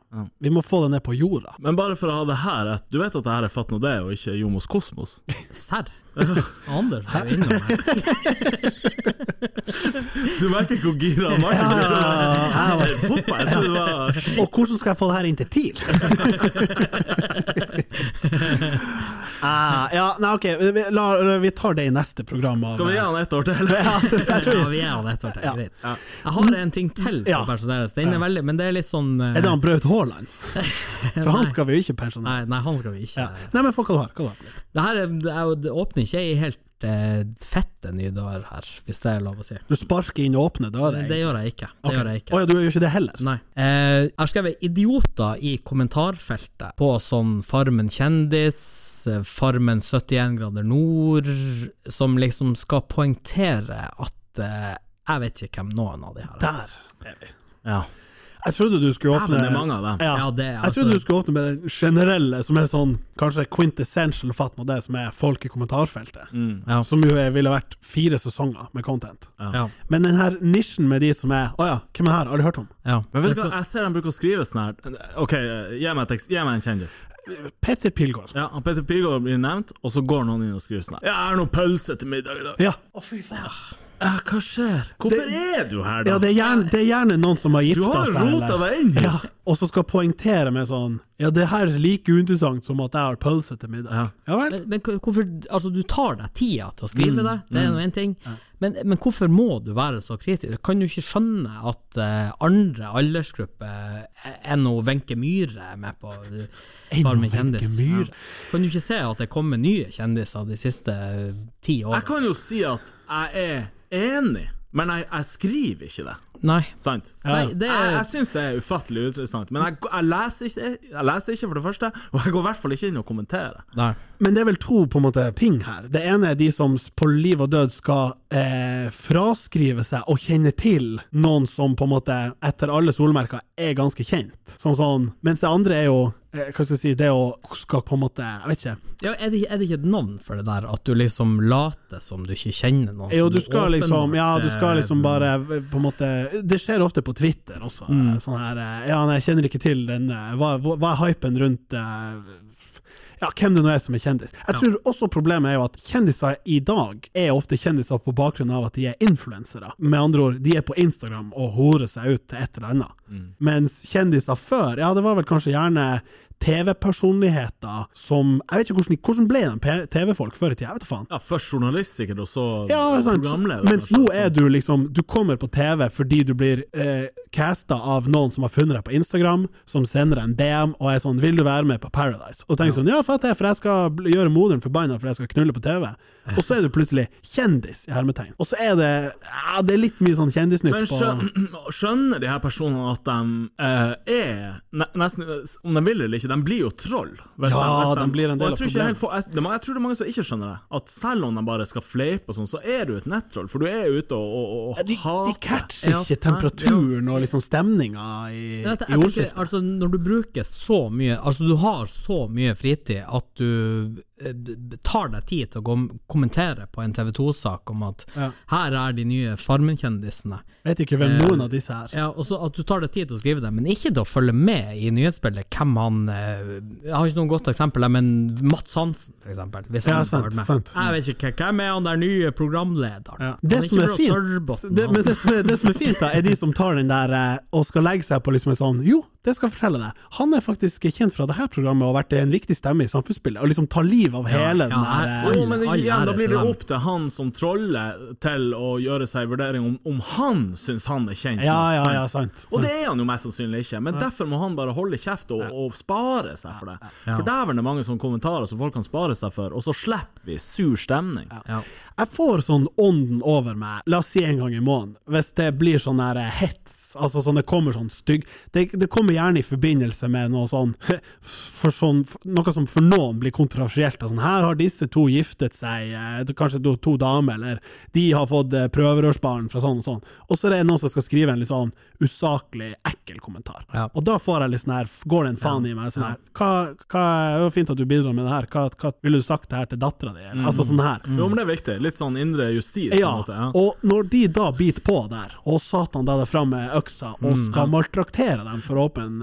Speaker 2: Vi må få det ned på jorda.
Speaker 3: Men bare for å ha det her rett, du vet at det her er Fatno det, og ikke Jomos Kosmos? *laughs*
Speaker 4: Serr? *laughs* Anders er jo innom her.
Speaker 3: Du merker hvor gira Martin er.
Speaker 2: ja,
Speaker 3: Det er Fotball, jeg trodde det var
Speaker 2: Og hvordan skal jeg få det her inn til
Speaker 3: *laughs*
Speaker 2: TIL? Ah, ja, nei, ok, vi, la, vi tar det i neste program. av-
Speaker 3: Skal vi gi han ett år til?
Speaker 2: Ja, jeg tror
Speaker 4: Ja,
Speaker 2: vi-
Speaker 4: vi er han ett år til,
Speaker 2: Ja.
Speaker 4: greit. Jeg har en ting til på
Speaker 2: Ja.
Speaker 4: pensjoneres, Den er veldig, men det er litt sånn eh,
Speaker 2: Er det han Braut Haaland? For han
Speaker 4: Nei.
Speaker 2: skal vi jo ikke pensjonere.
Speaker 4: Nei, nei, han skal vi ikke.
Speaker 2: Ja. Nei, men få hva du har. Hva du har.
Speaker 4: Det her er, det er jo, det åpner ikke ei helt eh, fette ny dør her, hvis det er lov å si.
Speaker 2: Du sparker inn åpne dører.
Speaker 4: Det gjør jeg ikke. Det
Speaker 2: Ok.
Speaker 4: gjør jeg ikke.
Speaker 2: Å ja, du gjør ikke det heller?
Speaker 4: Nei. Eh, jeg har skrevet 'idioter' i kommentarfeltet på sånn Farmen kjendis, eh, Farmen 71 grader nord, som liksom skal poengtere at eh, jeg vet ikke hvem noen av de her er.
Speaker 2: Der er vi.
Speaker 3: Ja.
Speaker 2: Jeg trodde du skulle åpne
Speaker 3: Dæven, det er mange av dem.
Speaker 2: Ja.
Speaker 4: Ja, det er
Speaker 2: Jeg trodde
Speaker 4: altså-
Speaker 2: du skulle åpne med den generelle, som er sånn kanskje quintessential fatt mot det som er folk i kommentarfeltet.
Speaker 3: Mm.
Speaker 4: Ja.
Speaker 2: Som jo er- ville vært fire sesonger med content.
Speaker 4: Ja,
Speaker 2: Men den her nisjen med de som er Å ja, hvem er det her? Aldri hørt om.
Speaker 4: ja.
Speaker 3: Men vet du hva, jeg ser han bruker å skrive sånn her OK, gi meg, et tekst, gi meg en kjendis.
Speaker 2: Petter Pilgaard.
Speaker 3: Ja, han Peter Pilgaard blir nevnt, og så går noen inn og skriver sånn her. Ja, jeg har noe pølse til middag i dag.
Speaker 2: Ja. Å, fy faen.
Speaker 3: Ja, hva skjer? Hvorfor er du her, da?
Speaker 2: Ja, det er gjerne, det er gjerne noen som har
Speaker 3: du
Speaker 2: gifta
Speaker 3: har
Speaker 2: seg.
Speaker 3: jo rota
Speaker 2: eller-
Speaker 3: deg inn hit!
Speaker 2: Ja, og så skal poengtere med sånn Ja, det her er like uinteressant som at jeg har pølse til middag. Ja,
Speaker 3: Ja.
Speaker 2: vel?
Speaker 4: Men, men hva- hvorfor Altså, du tar deg tida til å
Speaker 2: Mm,
Speaker 4: skrive det, det er nå én ting, men, men hvorfor må du være så kritisk? Kan du ikke skjønne at eh, andre aldersgrupper eh, enn hun Wenche Myhre er med på eh, Farmen
Speaker 2: Wenche
Speaker 4: kjendis?
Speaker 2: Myhre.
Speaker 4: Kan du ikke se at det kommer nye kjendiser de siste eh, ti
Speaker 3: Jeg
Speaker 4: årene?
Speaker 3: kan jo si at jeg er enig, men jeg, jeg skriver ikke det.
Speaker 4: Nei.
Speaker 3: Sant?
Speaker 4: Nei, det
Speaker 3: Jeg, jeg
Speaker 4: er
Speaker 3: syns det er ufattelig interessant, men jeg, jeg, leser ikke, jeg leser det ikke, for det første, og jeg går i hvert fall ikke inn og kommenterer.
Speaker 4: Nei.
Speaker 2: Men det er vel to på en måte ting her. Det ene er de som på liv og død skal eh, fraskrive seg og kjenne til noen som på en måte etter alle solmerker er ganske kjent. Sånn sånn. Mens det andre er jo eh, hva skal jeg si, det å skal på en måte Jeg vet ikke.
Speaker 4: Ja, er, det, er det ikke et navn for det der, at du liksom later som du ikke kjenner noen? som
Speaker 2: Jo, du skal liksom
Speaker 4: åpenbart,
Speaker 2: Ja, du skal liksom
Speaker 4: eh,
Speaker 2: bare eh, på en måte Det skjer ofte på Twitter også.
Speaker 4: Mm.
Speaker 2: eh, Sånn her eh, Ja, nei, jeg kjenner ikke til denne Hva, hva hva er hypen rundt eh, f- ja, hvem det nå er som er kjendis. Jeg tror også problemet er jo at kjendiser i dag er ofte kjendiser på bakgrunn av at de er influensere. Med andre ord, de er på Instagram og horer seg ut til et eller annet.
Speaker 4: Mm.
Speaker 2: Mens kjendiser før, ja, det var vel kanskje gjerne TV-personligheter som Jeg vet ikke hvordan, hvordan ble de P- TV-folk før i tida? Jeg vet da faen.
Speaker 3: Ja, Først journalist, sikkert, og så
Speaker 2: Ja, sant.
Speaker 3: programleder.
Speaker 2: Mens nå er du liksom Du kommer på TV fordi du blir eh, casta av noen som har funnet deg på Instagram, som sender deg en DM og er sånn 'Vil du være med på Paradise?' Og tenker sånn 'Ja, fatt det, for jeg skal bl- gjøre moderen forbanna fordi jeg skal knulle på TV'. Og så er du plutselig kjendis, i hermetegn. Og så er det ja, Det er litt mye sånn
Speaker 3: Men
Speaker 2: kjendisnytt på
Speaker 3: skjønner, *clears throat* skjønner de her personene at de eh, er ne nesten Om de vil eller ikke, de blir jo troll. hvis
Speaker 2: Ja,
Speaker 3: hvis
Speaker 2: de blir en del
Speaker 3: og jeg
Speaker 2: av
Speaker 3: tror ikke helt få- Jeg, det må- jeg tror det er mange som ikke skjønner det. At selv om de bare skal fleipe og sånn, så er du et nettroll. For du er ute og, og, og
Speaker 2: de, de
Speaker 3: hater.
Speaker 2: catcher
Speaker 4: Ja.
Speaker 2: ikke temperaturen og liksom stemninga i, i
Speaker 4: Men jeg- jeg tenker,
Speaker 2: ordskiftet.
Speaker 4: altså, når du bruker så mye Altså du har så mye fritid at du eh, d- d- tar deg tid til å kom kommentere på en TV 2-sak om at
Speaker 2: Ja.
Speaker 4: her er de nye Farmen-kjendisene.
Speaker 2: Vet ikke
Speaker 4: Eh,
Speaker 2: hvem noen av disse her
Speaker 4: Ja, og så At du tar deg tid til å skrive det, men ikke til å følge med i nyhetsbildet hvem han eh, Jeg har ikke noe godt eksempel, her, men Mats Hansen, for eksempel. Hvis
Speaker 2: Ja,
Speaker 4: han skulle
Speaker 2: sant,
Speaker 4: vært med.
Speaker 2: sant.
Speaker 4: Jeg vet ikke hvem er han der nye programlederen?
Speaker 2: Ja.
Speaker 4: Han
Speaker 2: Det,
Speaker 4: ikke
Speaker 2: som er
Speaker 4: fra
Speaker 2: fint,
Speaker 4: Sørbotn,
Speaker 2: det,
Speaker 4: han.
Speaker 2: men det, som er, det som er fint, da, er de som tar den der eh, og skal legge seg på liksom en sånn Jo, det skal jeg fortelle deg. Han er faktisk kjent fra det her programmet og har vært en viktig stemme i samfunnsspillet. Og liksom tar liv av hele den
Speaker 4: ja,
Speaker 2: der eh,
Speaker 4: jeg-
Speaker 3: Jo, men
Speaker 4: All
Speaker 3: igjen, da
Speaker 4: ære
Speaker 3: blir
Speaker 4: til
Speaker 3: det
Speaker 4: dem.
Speaker 3: opp til han som troller til å gjøre seg en vurdering om, om han syns han er kjent.
Speaker 2: Ja,
Speaker 3: nok,
Speaker 2: ja,
Speaker 3: sant?
Speaker 2: ja, sant.
Speaker 3: Og det er han jo mest sannsynlig ikke, men derfor må han bare holde kjeft og, og spare seg for det. For dæven er mange sånne kommentarer som folk kan spare seg for, og så slipper vi sur stemning.
Speaker 4: Ja.
Speaker 2: Jeg får sånn ånden over meg, la oss si en gang i måneden, hvis det blir sånn her eh, hets, altså sånn det kommer sånn stygg Det, det kommer kommer gjerne i forbindelse med noe sånn, *laughs* for sånn Noe som for noen blir kontroversielt. og Sånn, her har disse to giftet seg, eh, kanskje to, to damer, eller de har fått eh, prøverørsbarn fra sånn og sånn. Og så er det noen som skal skrive en litt sånn usaklig, ekkel kommentar.
Speaker 4: Ja.
Speaker 2: Og da får jeg litt sånn her, går det en faen i meg. sånn her, hva, hva, Det var fint at du bidrar med det her, hva, hva ville du sagt det her til dattera di? eller? Altså sånn her.
Speaker 3: Jo, men det er viktig. Litt sånn indre justis. på en
Speaker 2: Ja,
Speaker 3: måte, ja.
Speaker 2: og når de da biter på der, og Satan da er fram med øksa og skal maltraktere dem for åpen eh,
Speaker 3: Mm,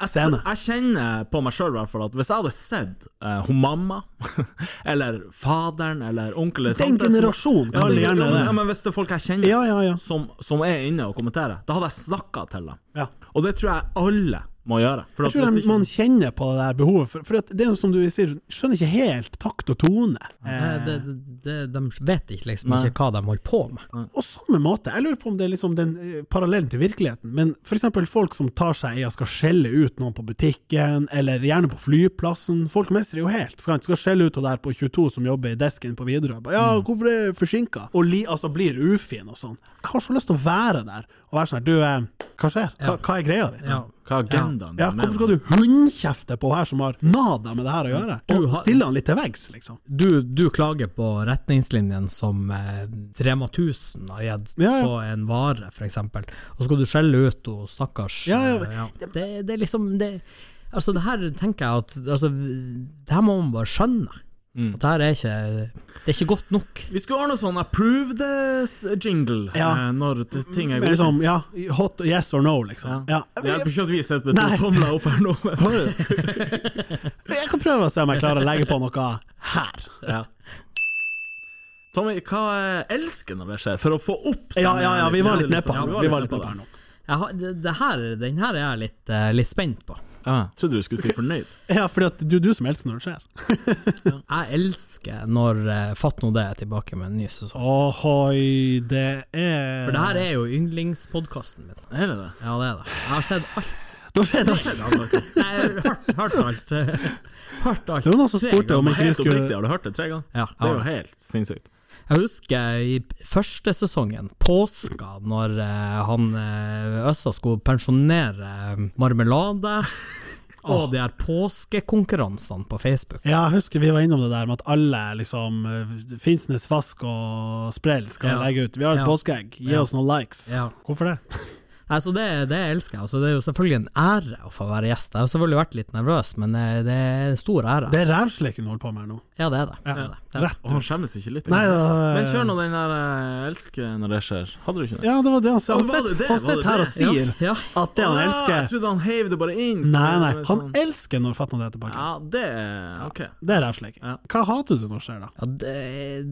Speaker 3: Jeg-
Speaker 2: scene
Speaker 3: Jeg kjenner på meg sjøl at hvis jeg hadde sett eh, hun mamma, *laughs* eller faderen, eller onkel eller
Speaker 2: Den
Speaker 3: tante som-
Speaker 2: generasjonen
Speaker 3: ja,
Speaker 2: kaller
Speaker 3: det-
Speaker 2: gjerne
Speaker 3: ja, men-
Speaker 2: det.
Speaker 3: Ja, men hvis det er folk jeg kjenner
Speaker 2: Ja, ja, ja.
Speaker 3: Som, som er inne og kommenterer, da hadde jeg snakka til dem.
Speaker 2: Ja.
Speaker 3: Og det tror jeg alle må gjøre. For
Speaker 2: Jeg
Speaker 3: at
Speaker 2: tror
Speaker 3: hvis
Speaker 2: de,
Speaker 3: ikke-
Speaker 2: man kjenner på det der behovet, for, for at det er jo som du sier, skjønner ikke helt takt og tone. Eh,
Speaker 4: Nei, det, det, de vet ikke liksom ikke hva de holder på med.
Speaker 2: og samme måte, jeg lurer på om det er liksom den eh, parallellen til virkeligheten, men for eksempel folk som tar seg i å skal skjelle ut noen på butikken, eller gjerne på flyplassen, folk mestrer jo helt, skal, skal skjelle ut og der på 22 som jobber i desken på Widerøe, bare,
Speaker 4: Mm.
Speaker 2: ja, hvorfor er det forsinket? Og li, altså blir ufin og sånn. Jeg har så lyst til å være der, og være sånn, her, du, eh, hva skjer? Hva, hva er greia di?
Speaker 4: Ja.
Speaker 3: Hva er agendaen
Speaker 2: Ja,
Speaker 3: din med
Speaker 2: hvorfor skal
Speaker 3: det?
Speaker 2: du hundkjefte på her som har nada med det her å gjøre?
Speaker 4: Mm. Du
Speaker 2: Og
Speaker 4: har-
Speaker 2: stille han litt til veggs, liksom.
Speaker 4: Du, du klager på retningslinjene som eh, Rema 1000 har gitt
Speaker 2: Ja, ja.
Speaker 4: på en vare, f.eks., og så skal du skjelle ut henne, stakkars.
Speaker 2: Ja, ja.
Speaker 4: eh, Det, det er liksom det, Altså, det her tenker jeg at altså, Det her må man bare skjønne. At det her er ikke Det er ikke godt nok.
Speaker 3: Vi skulle ordne sånn approve this-jingle
Speaker 2: Ja.
Speaker 3: eh, når t- ting er
Speaker 2: Men liksom,
Speaker 3: godkjent.
Speaker 2: ja, hot yes or no, liksom. Ja.
Speaker 3: Ja. Det hjelper ikke at vi sitter med
Speaker 2: Nei.
Speaker 3: to tomler opp her nå.
Speaker 2: Men Jeg kan prøve å se om jeg klarer å legge på noe her.
Speaker 3: ja. Tommy, hva eh, elsker når det skjer? For å få opp
Speaker 2: Ja, ja, ja, vi var litt nedpå
Speaker 3: liksom.
Speaker 2: her
Speaker 3: Ja,
Speaker 2: nå. Vi var litt nedpå her nå.
Speaker 4: Jeg har, det, det her, den her er jeg litt, eh, litt spent på.
Speaker 3: Ja, trodde du skulle si fornøyd.
Speaker 2: Ja, fordi at det er jo du som elsker når det skjer.
Speaker 4: Jeg elsker når eh, Fatt nå det er tilbake med en ny sesong.
Speaker 2: Ohoi, det er
Speaker 4: For det her er jo yndlingspodkasten min.
Speaker 3: Er det det?
Speaker 4: Ja, det er det. Jeg har sett alt.
Speaker 2: Nå skjedde det!
Speaker 3: Ja,
Speaker 2: *laughs*
Speaker 3: faktisk.
Speaker 4: Jeg har hørt, hørt alt. Hørt alt.
Speaker 2: Det var noen som
Speaker 4: Tre
Speaker 2: spurte om
Speaker 4: ganger.
Speaker 2: ikke vi
Speaker 3: Helt oppriktig,
Speaker 2: skulle
Speaker 3: har du hørt det tre ganger?
Speaker 4: Ja,
Speaker 3: Det er jo
Speaker 4: ja.
Speaker 3: helt sinnssykt.
Speaker 4: Jeg husker i første sesongen, påska, når eh, han eh, Øssa skulle pensjonere eh, marmelade,
Speaker 3: *laughs*
Speaker 4: og de her påskekonkurransene på Facebook.
Speaker 2: Ja, jeg husker vi var innom det der med at alle liksom eh, Finnsnes Vask og Sprell skal
Speaker 4: Ja.
Speaker 2: legge ut. Vi har et
Speaker 4: Ja.
Speaker 2: påskeegg, gi
Speaker 4: Ja.
Speaker 2: oss noen likes.
Speaker 4: Ja.
Speaker 2: Hvorfor det?
Speaker 4: Nei, så det, det elsker jeg. Altså, det er jo selvfølgelig en ære å få være gjest. Jeg har selvfølgelig vært litt nervøs, men eh, det er en stor ære.
Speaker 2: Det er rævsleken du holder på med her nå.
Speaker 4: Ja, det er det.
Speaker 2: Ja.
Speaker 4: det, er det. det, er det.
Speaker 2: Rett
Speaker 3: Og han skjemmes ikke litt?
Speaker 2: Nei,
Speaker 3: engang.
Speaker 2: da-
Speaker 3: Men kjør nå den der eh, 'elsker når det skjer'. Hadde du ikke det?
Speaker 2: Ja, det var det han sa. Han
Speaker 3: Ja, var det
Speaker 2: sitter
Speaker 3: det?
Speaker 2: han
Speaker 3: Var det
Speaker 2: sitter her
Speaker 3: det?
Speaker 2: og sier
Speaker 4: Ja,
Speaker 2: at det han
Speaker 3: Ah, Jeg
Speaker 2: elsker
Speaker 3: trodde han heiv det bare inn. så
Speaker 2: Nei, nei,
Speaker 3: det var
Speaker 2: han
Speaker 3: sånn-
Speaker 2: elsker når fatter'n er tilbake.
Speaker 3: Ja, det er OK.
Speaker 2: Det er rævsleking.
Speaker 3: Ja.
Speaker 2: Hva hater du når skjer, da?
Speaker 4: Ja, det,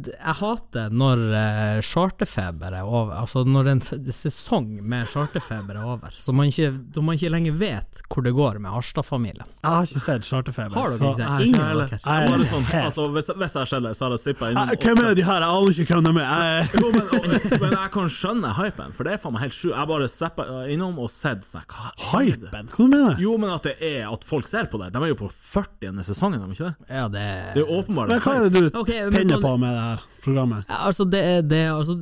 Speaker 4: det- jeg hater når eh, charterfeber er over, altså når en f- sesong med charterfeber er over, så man ikke, da man ikke lenger vet hvor det går med Harstad-familien.
Speaker 2: Jeg har ikke sett Charterfeber.
Speaker 4: Har dere
Speaker 2: så-
Speaker 4: ikke det?
Speaker 3: Nei,
Speaker 4: Ingen
Speaker 3: ikke
Speaker 4: av
Speaker 3: heller.
Speaker 4: dere.
Speaker 2: Nei,
Speaker 3: Bare
Speaker 2: *laughs*
Speaker 3: sånn,
Speaker 2: helt.
Speaker 3: altså, hvis, hvis jeg skjeller, så har jeg sippa innom.
Speaker 2: Nei, Hvem er de her? Jeg aner ikke hvem de
Speaker 4: *laughs*
Speaker 2: er. Jeg-
Speaker 3: Jo, men, og, men jeg kan skjønne hypen, for det er faen meg helt sjukt. Jeg bare zappa innom og sett sånn Hva er det?
Speaker 2: Hypen? Hva du mener du?
Speaker 3: Jo, men at det er at folk ser på det. De er jo på 40. sesongen, er de ikke det?
Speaker 4: Ja, det,
Speaker 3: Det er jo åpenbart.
Speaker 2: Men hva er det du
Speaker 4: Ok, men
Speaker 2: tenner
Speaker 4: sånn-
Speaker 2: på med det her programmet?
Speaker 4: Ja, altså, det, er- det er altså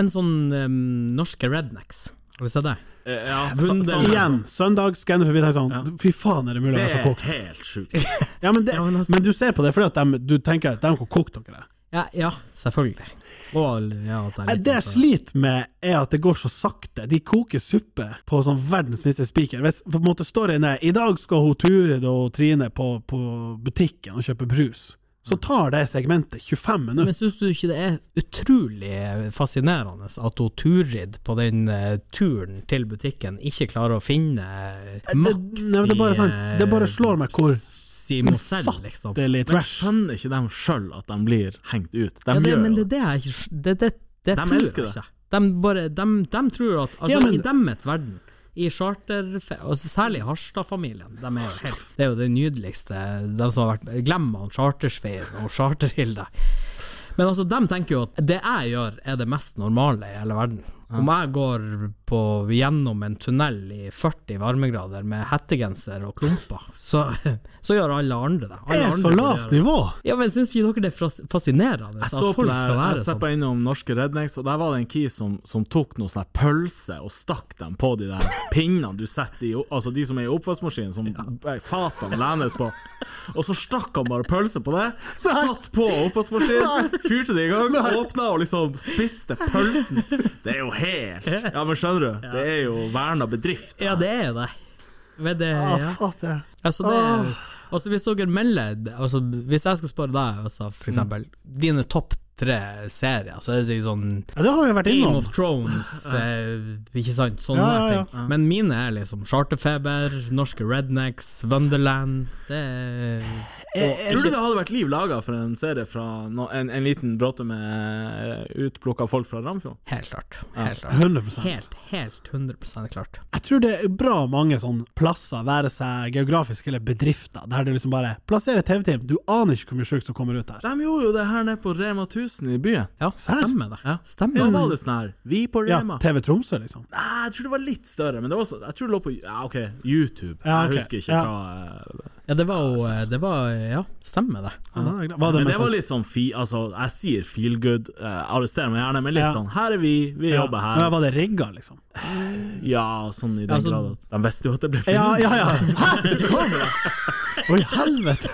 Speaker 4: en sånn em, norske rednecks. Har du sett det?
Speaker 3: Eh, Ja,
Speaker 2: Så,
Speaker 3: Hundel-
Speaker 2: igjen, søndag skanner forbi tenker sånn Fy faen, er det mulig å
Speaker 3: Det
Speaker 2: være så
Speaker 3: er
Speaker 2: kokt?
Speaker 3: helt sjukt.
Speaker 2: Ja, men, det,
Speaker 4: Ja, men altså-
Speaker 2: men du ser på det fordi at de, du tenker at de kan koke dere.
Speaker 4: Ja, ja selvfølgelig. Og, ja, at jeg
Speaker 2: Nei,
Speaker 4: er litt
Speaker 2: Det jeg
Speaker 4: innenfor.
Speaker 2: sliter med, er at det går så sakte. De koker suppe på sånn verdens minste spiker. Hvis på en måte står inne I dag skal hun Turid og Trine på, på butikken og kjøpe brus. Så tar det segmentet 25
Speaker 4: Men
Speaker 2: minutter.
Speaker 4: syns du ikke det er utrolig fascinerende at hun Turid på den eh, turen til butikken ikke klarer å finne
Speaker 2: Det,
Speaker 4: maks
Speaker 2: nei, men det er bare sant. Det bare slår meg hvor
Speaker 4: Si Mozell, eh, liksom.
Speaker 2: det er litt *laughs*
Speaker 3: Men
Speaker 2: trash.
Speaker 3: skjønner ikke de sjøl at de blir hengt ut? De
Speaker 4: ja, det,
Speaker 3: gjør
Speaker 4: men
Speaker 3: jo
Speaker 4: det er det jeg ikke skj- Det, det, det
Speaker 3: De
Speaker 4: tror jeg
Speaker 3: elsker det.
Speaker 4: ikke. De, bare, de, de tror at Altså,
Speaker 2: Ja, men-
Speaker 4: i deres verden i charter, altså særlig Harstad-familien. De er jo helt, det er jo det nydeligste De som har vært Glem han Chartersveien og Charterhilde. Men altså, de tenker jo at det jeg gjør, er det mest normale i hele verden. Om jeg går på, gjennom en tunnel i 40 varmegrader med hettegenser og klumper, så, så gjør alle andre det.
Speaker 2: Det
Speaker 4: Alle
Speaker 2: er
Speaker 4: andre
Speaker 2: så
Speaker 4: vil
Speaker 2: lavt
Speaker 4: gjøre det.
Speaker 2: nivå!
Speaker 4: Ja, men syns ikke dere det er fras- fascinerende
Speaker 3: Jeg
Speaker 4: at
Speaker 3: så på
Speaker 4: folk
Speaker 3: det,
Speaker 4: skal
Speaker 3: jeg
Speaker 4: være sånn?
Speaker 3: steppa innom norske rednecks, og der var det en kis som, som tok noen sånne pølser og stakk dem på de
Speaker 4: *laughs*
Speaker 3: der pinnene du setter i Altså de som er i oppvaskmaskinen, som eh, fatene lenes på. Og så stakk han bare pølse på
Speaker 4: *laughs*
Speaker 3: det, satt på oppvaskmaskinen, fyrte det i gang, åpna og liksom spiste pølsen. Det er jo helt Ja, men skjønner du? Det er jo verna bedrift.
Speaker 4: Ja, det er det. Men det,
Speaker 2: Ah,
Speaker 4: ja.
Speaker 2: faen,
Speaker 4: Altså, det er, altså hvis dere melder altså, Hvis jeg skal spørre deg, altså, for eksempel, dine topp tre serier, så er det sikkert sånn
Speaker 2: Ja, det har vi vært
Speaker 4: Game
Speaker 2: innom.
Speaker 4: of Thrones, eh, ikke sant?
Speaker 2: Ja,
Speaker 4: Sånne
Speaker 2: ja, ja.
Speaker 4: ting. Men mine er liksom Charterfeber, norske Rednecks, Wonderland Det er
Speaker 2: Jeg-
Speaker 3: Tror du det hadde vært liv laga for en serie fra no, en, en liten bråte med utplukka folk fra Ramfjord?
Speaker 4: helt klart. Helt, klart.
Speaker 2: 100
Speaker 4: helt, helt 100 klart.
Speaker 2: Jeg tror det er bra mange sånne plasser, være seg geografisk eller bedrifter, der du liksom bare plasserer TV-team. Du aner ikke hvor mye sjukt som kommer ut der.
Speaker 3: De gjorde jo det her nede på Rema 1000 i byen.
Speaker 4: Ja, stemmer det.
Speaker 3: Ja. Da
Speaker 4: Stemmer
Speaker 3: var
Speaker 4: det.
Speaker 3: det sånn her Vi på
Speaker 2: Ja,
Speaker 3: Rema.
Speaker 2: TV Tromsø, liksom.
Speaker 3: Nei, jeg tror det var litt større, men det var også, jeg tror det lå på Ja, OK, YouTube.
Speaker 2: Ja, ok.
Speaker 3: Jeg husker ikke
Speaker 2: Ja.
Speaker 3: hva eh,
Speaker 4: Ja, det var jo eh, Det var Ja, stemmer det.
Speaker 2: Ja, da er det greit. Var det
Speaker 3: Men
Speaker 2: med
Speaker 3: det var
Speaker 2: sånn-
Speaker 3: litt sånn fi... Altså, jeg sier feel good, eh, arrester meg gjerne, men litt
Speaker 2: Ja.
Speaker 3: sånn Her er vi, vi
Speaker 2: ja.
Speaker 3: jobber
Speaker 2: Men
Speaker 3: her.
Speaker 2: var det rigga, liksom?
Speaker 3: Ja, sånn i den
Speaker 4: Altså-
Speaker 3: grad at De visste jo at det ble film.
Speaker 2: Ja, ja, ja. *laughs* Hæ? Kom det? Oi, helvete!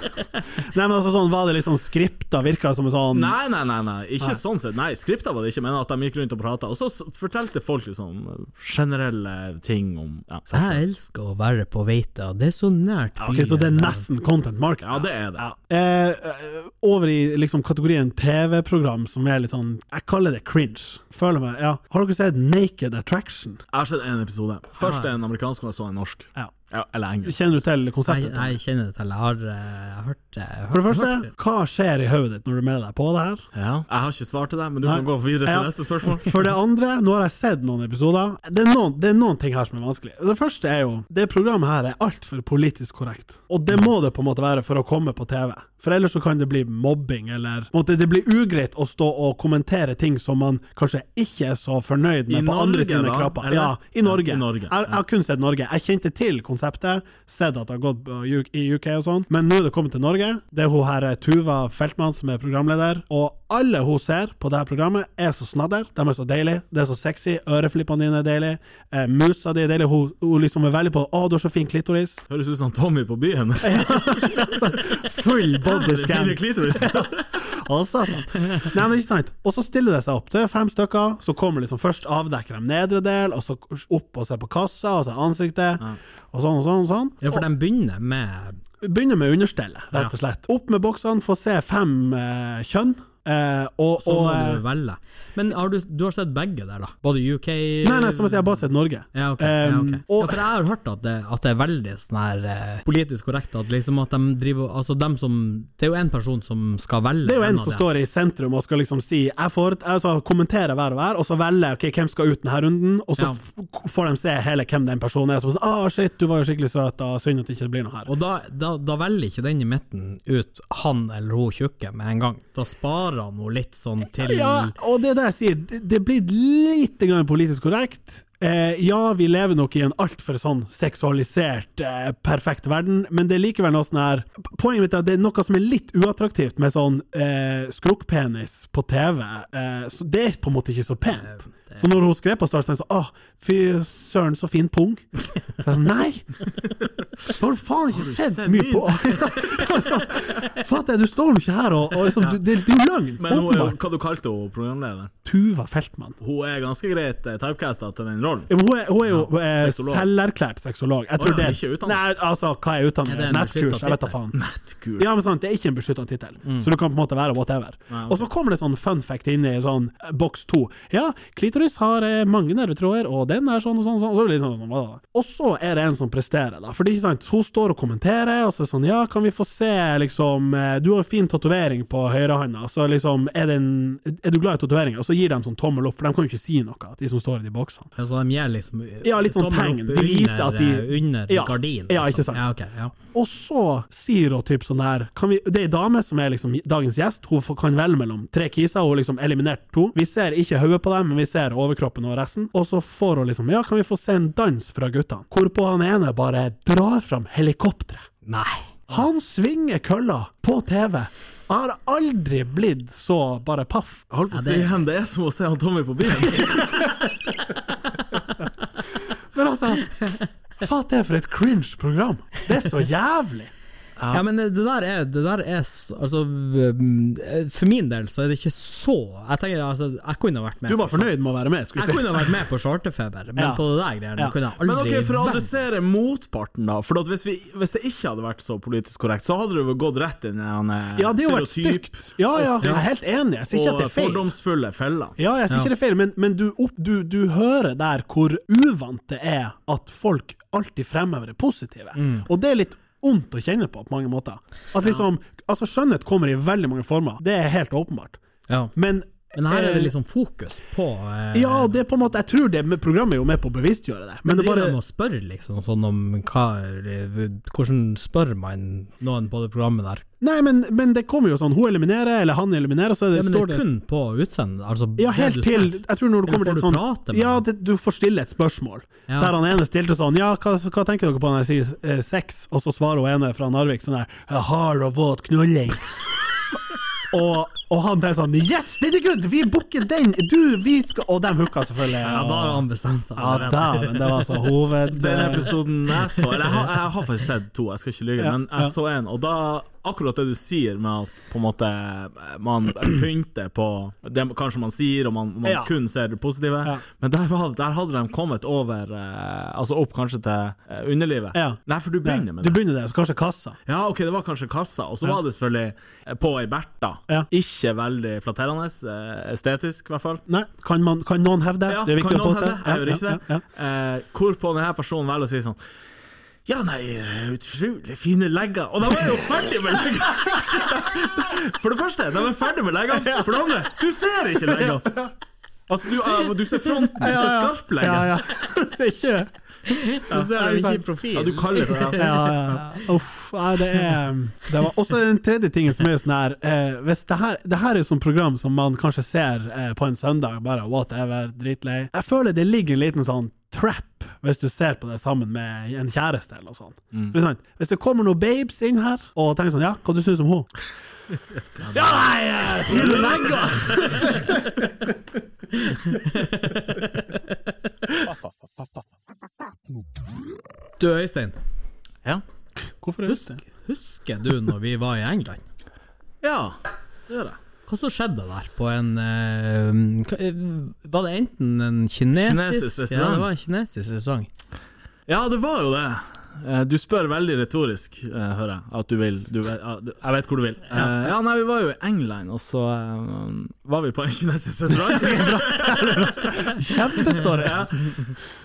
Speaker 2: Nei, men altså sånn, var det liksom skripta? Virka som en sånn
Speaker 3: Nei, nei, nei, nei. ikke sånn sett. Nei, Skripta var det ikke, men at de gikk rundt og prata. Og så s- fortalte folk liksom generelle ting om ja, sex.
Speaker 4: Jeg elsker å være på Veita, det er så nært
Speaker 2: Ja, Ok, Så det er
Speaker 4: byen.
Speaker 2: nesten content market?
Speaker 3: Ja, det er det.
Speaker 2: Eh, eh, over i liksom kategorien TV-program som er litt sånn Jeg kaller det cringe. Føler meg Ja. Har dere sett Naked Attraction?
Speaker 3: Jeg har sett én episode. Først en amerikansk, og så en norsk.
Speaker 2: Ja.
Speaker 3: Ja, eller engelsk.
Speaker 2: Kjenner du til
Speaker 4: Nei,
Speaker 2: konseptet?
Speaker 4: nei, jeg kjenner det til. Jeg har, eh, jeg har hørt det. jeg har
Speaker 2: For det
Speaker 4: hørt-
Speaker 2: første, hva skjer i hodet ditt når du melder deg på det her?
Speaker 3: Ja. Jeg har ikke svar til deg, men du
Speaker 2: Nei.
Speaker 3: kan gå videre til
Speaker 2: Ja.
Speaker 3: neste spørsmål.
Speaker 2: For det andre, nå har jeg sett noen episoder. Det er noen, det er noen ting her som er vanskelig. Det første er jo Det programmet her er altfor politisk korrekt. Og det må det på en måte være for å komme på TV. For ellers så kan det bli mobbing, eller på en måte, Det blir ugreit å stå og kommentere ting som man kanskje ikke er så fornøyd med
Speaker 3: I
Speaker 2: på andre
Speaker 3: Norge,
Speaker 2: sine
Speaker 3: da,
Speaker 2: knapper.
Speaker 3: eller?
Speaker 2: Ja, i Norge.
Speaker 3: I Norge,
Speaker 2: Jeg, jeg har kun sett Norge. Jeg kjente til konseptet, sett at det har gått på U- i UK og sånn, men nå er det kommet til Norge. Det er hun her eh, Tuva Feltmann som er programleder, og alle hun ser på det her programmet, er så snadder. De er så deilige, det er så sexy. Øreflippene dine er deilige, eh, musa di er deilig. Hun, hun liksom er veldig på 'Å, du har så fin
Speaker 3: *laughs*
Speaker 2: klitoris'.
Speaker 3: Høres ut som Tommy
Speaker 2: *laughs*
Speaker 3: på byen.
Speaker 2: Full body
Speaker 3: Det
Speaker 2: scan.
Speaker 3: fine klitoris.
Speaker 2: Å, satan. *laughs* Nei, men ikke sant. Og så stiller det seg opp. Det er fem stykker. Så kommer liksom først avdekker de nedre del, og så opp og ser på kassa, og så ansiktet, og sånn og sånn. og sånn.
Speaker 4: Ja, for de begynner med
Speaker 2: Begynner med understellet, rett og slett. Opp med boksene, få se fem eh, kjønn. Eh, og,
Speaker 4: Så
Speaker 2: og
Speaker 4: Sånn må
Speaker 2: eh,
Speaker 4: du velge. Men har du, du har sett begge der, da? Både UK
Speaker 2: Nei, nei, som jeg sier, jeg har bare sett Norge.
Speaker 4: Ja, ok. ja, ok.
Speaker 2: Um, og-
Speaker 4: ja, for jeg har hørt at det, at det er veldig sånn her eh, politisk korrekt at liksom at de driver Altså, dem som Det er jo én person som skal velge.
Speaker 2: Det er jo en
Speaker 4: av
Speaker 2: som
Speaker 4: dem.
Speaker 2: står i sentrum og skal liksom si jeg får, altså, kommentere hver og hver, og så velge ok, hvem skal ut denne runden, og så
Speaker 4: Ja.
Speaker 2: f får de se hele hvem den personen er. Som sånn, ah, shit, du var jo skikkelig søt, og synd at det ikke blir noe her.
Speaker 4: Og da, da, da velger ikke den i midten ut han eller hun tjukke med en gang. Da sparer han henne litt sånn til
Speaker 2: Ja, og det er det jeg sier, det- det blir lite grann politisk korrekt. Eh, ja, vi lever nok i en altfor sånn seksualisert, eh, perfekt verden, men det er likevel noe sånn her Poenget mitt er at det er noe som er litt uattraktivt med sånn eh, skrukkpenis på TV. Eh, så det er på en måte ikke så pent. Så når hun skrev på Stars, tenkte jeg sånn Åh, fy søren, så fin pung. Så jeg sa nei!
Speaker 3: *laughs*
Speaker 2: Da har du faen ikke sett
Speaker 3: sett
Speaker 2: mye
Speaker 3: min?
Speaker 2: på *laughs* altså, Fatter jeg, du står nå ikke her og, og liksom, du, det, det er jo løgn!
Speaker 3: Men hun er jo,
Speaker 2: Åpenbart.
Speaker 3: hva du kalte hun, programlederen?
Speaker 2: Tuva Feltmann.
Speaker 3: Hun er ganske greit eh, typecasta til den rollen.
Speaker 2: Ja, men hun, er, hun er jo eh,
Speaker 3: sexolog.
Speaker 2: selverklært sexolog. Jeg
Speaker 3: Å
Speaker 2: tror
Speaker 3: ja,
Speaker 2: det
Speaker 3: ikke utdannet.
Speaker 2: Nei, altså, hva er
Speaker 4: Er det
Speaker 2: utdannet?
Speaker 4: en
Speaker 2: Nettkurs?
Speaker 4: beskyttet
Speaker 2: Jeg vet da faen.
Speaker 3: Nettkurs.
Speaker 2: Ja, men sant, Det er ikke en beskytta tittel, så du kan på en måte være whatever.
Speaker 3: Ja, ok.
Speaker 2: Og så kommer det sånn fun fact inn i sånn eh, boks to. Ja, klitoris har eh, mange nervetråder, og den er sånn og sånn, og sånn. Og så, er det litt sånn, sånn, blablabla. og så er det en som presterer, da. For det er ikke sant, hun står og kommenterer, og så er det sånn Ja, kan vi få se, liksom eh, Du har fin tatovering på høyrehånda, så liksom er, det en, er du glad i tatoveringer? Og så gir de sånn tommel opp, for de kan jo ikke si noe, de som står i de boksene.
Speaker 4: Ja, sånn de gir liksom
Speaker 2: Ja, litt sånn
Speaker 4: tommel
Speaker 2: tegn.
Speaker 4: opp
Speaker 2: Det viser
Speaker 4: under,
Speaker 2: at de-
Speaker 4: eh, under
Speaker 2: Ja.
Speaker 4: gardinen.
Speaker 2: Ja,
Speaker 4: liksom.
Speaker 2: ikke sant.
Speaker 4: Ja, ok, ja.
Speaker 2: Og så sier hun typ sånn her kan vi, Det er ei dame som er liksom dagens gjest. Hun får- kan velge mellom tre kiser, og hun liksom eliminert to. Vi ser ikke hodet på dem, men vi ser overkroppen og resten. Og så får hun liksom Ja, kan vi få se en dans fra guttene? Hvorpå han ene bare drar fram helikopteret.
Speaker 4: Nei.
Speaker 2: Han svinger kølla på TV. Jeg har aldri blitt så bare paff.
Speaker 3: Jeg holdt på å
Speaker 4: Ja,
Speaker 3: si
Speaker 4: det-
Speaker 3: igjen, det er som å se han Tommy på
Speaker 2: *laughs*
Speaker 3: byen.
Speaker 2: Men altså Fatt det for et cringe program! Det er så jævlig!
Speaker 4: Ja. men eh, det det der er, det der er s- Altså, mm, for min del så er det ikke så Jeg tenker altså, jeg kunne ha vært med.
Speaker 2: Du var fornøyd med å være med, skulle vi
Speaker 4: Jeg
Speaker 2: si.
Speaker 4: kunne ha vært med på charterfeber, men
Speaker 2: Ja.
Speaker 4: på det der greiene
Speaker 2: Ja.
Speaker 4: kunne jeg
Speaker 3: Men
Speaker 4: aldri
Speaker 3: ok, for å
Speaker 4: vært-
Speaker 3: adressere motparten, da. For at hvis, vi, hvis det ikke hadde vært så politisk korrekt, så hadde det jo gått rett inn i den eh,
Speaker 2: Ja, det har jo vært
Speaker 3: stereotyp
Speaker 2: stygt. Ja, ja, jeg er helt enig. Jeg sier ikke at
Speaker 3: og
Speaker 2: det er feil.
Speaker 3: fordomsfulle feller.
Speaker 2: Ja, jeg sier ikke det er feil, men, men du, opp, du, du hører der hvor uvant det er at folk alltid fremhever det positive.
Speaker 4: Mm.
Speaker 2: Og det er litt ondt å kjenne på på mange måter. At liksom, altså Skjønnhet kommer i veldig mange former, det er helt åpenbart.
Speaker 4: Ja.
Speaker 2: Men,
Speaker 4: Men her er
Speaker 2: eh,
Speaker 4: det liksom fokus på eh,
Speaker 2: Ja, det er på en måte Jeg tror det med programmet er jo med på å bevisstgjøre det, men det
Speaker 4: Driver
Speaker 2: bare
Speaker 4: de og spør liksom sånn om hva Hvordan spør man noen på det programmet der?
Speaker 2: Nei, men, men det kommer jo sånn Hun eliminerer, eller han eliminerer, og så er det,
Speaker 4: Ja, men det
Speaker 2: står
Speaker 4: er
Speaker 2: det
Speaker 4: kun på utseendet? Altså,
Speaker 2: Ja,
Speaker 4: det
Speaker 2: helt
Speaker 4: du
Speaker 2: til
Speaker 4: spør.
Speaker 2: Jeg tror når du
Speaker 4: Eller
Speaker 2: kommer til
Speaker 4: får
Speaker 2: et
Speaker 4: du
Speaker 2: sånn
Speaker 4: prate med
Speaker 2: Ja,
Speaker 4: dem?
Speaker 2: det, du får stille et spørsmål.
Speaker 4: Ja.
Speaker 2: Der han ene stilte sånn Ja, hva, hva tenker dere på når jeg sier eh, sex? Og så svarer hun ene fra Narvik sånn her «Eh, Hard og våt knulling. *laughs* og, og han der sånn Yes, den er good! Vi booker den! Du, vi skal Og de hooka selvfølgelig.
Speaker 4: Ja, da har han bestemt seg.
Speaker 2: ja, dæven, det var altså hoved...
Speaker 3: Den episoden jeg så Eller jeg har, jeg har faktisk sett to, jeg skal ikke lyve, men jeg så en, og da Akkurat det du sier med at på en måte man pynter på det kanskje man sier, og man, man
Speaker 2: Ja.
Speaker 3: kun ser det positive,
Speaker 2: Ja.
Speaker 3: men der, var, der hadde de kommet over eh, Altså opp kanskje til eh, underlivet.
Speaker 2: Ja.
Speaker 3: Nei, for du begynner med
Speaker 2: Du
Speaker 3: det.
Speaker 2: begynner der, så kanskje kassa.
Speaker 3: Ja, ok, det var kanskje kassa, og så var det selvfølgelig eh, på ei Bertha.
Speaker 2: Ja.
Speaker 3: Ikke veldig flatterende, eh, estetisk i hvert fall.
Speaker 2: Nei, kan, man, kan noen hevde det?
Speaker 3: Ja,
Speaker 2: det er viktig
Speaker 3: kan
Speaker 2: å
Speaker 3: noen
Speaker 2: påstå.
Speaker 3: hevde? Jeg gjør ikke det.
Speaker 2: Ja, ja, ja.
Speaker 3: Eh, hvorpå denne personen velger å si sånn ja, nei, eh, utrolig fine legger. Og de er jo ferdig med legger! For det første, de er ferdig med leggene. For det andre, du ser ikke leggene! Altså, du, eh, du ser fronten, du
Speaker 2: Ja,
Speaker 3: ser
Speaker 2: ja.
Speaker 3: skarp
Speaker 2: Ja,
Speaker 3: legger.
Speaker 2: ja. *laughs* Det er ikke
Speaker 4: Du ser
Speaker 2: det ikke i
Speaker 4: profil.
Speaker 3: Ja, du kaller det det.
Speaker 2: ja, ja. Uff, nei, det er det var også den tredje tingen som er sånn her eh, hvis det, her det her er jo sånn program som man kanskje ser eh, på en søndag, bare whatever, dritlei. Jeg føler det ligger en liten sånn trap hvis du ser på det sammen med en kjæreste eller noe sånt. For det er sant, Hvis det kommer noen babes inn her og tenker sånn Ja, hva du synes om hun? Ja, nei, eh, fine legger!
Speaker 4: Du Øystein,
Speaker 3: Ja.
Speaker 2: Hvorfor er det?
Speaker 4: husker du når vi var i England?
Speaker 3: ja, det gjør jeg.
Speaker 4: Hva som skjedde der på en eh, hva- eh, Var det enten en kinesisk,
Speaker 3: Kinesisk restaurant.
Speaker 4: Ja, det var en kinesisk restaurant.
Speaker 3: Ja, det var jo det. Eh, Du spør veldig retorisk, eh, hører jeg. At du vil du, vet- ja, du- Jeg vet hvor du vil. Eh, Ja, nei, vi var jo i England, og så eh, var vi på *laughs* en kinesisk restaurant.
Speaker 2: Kjempestory!
Speaker 3: Ja.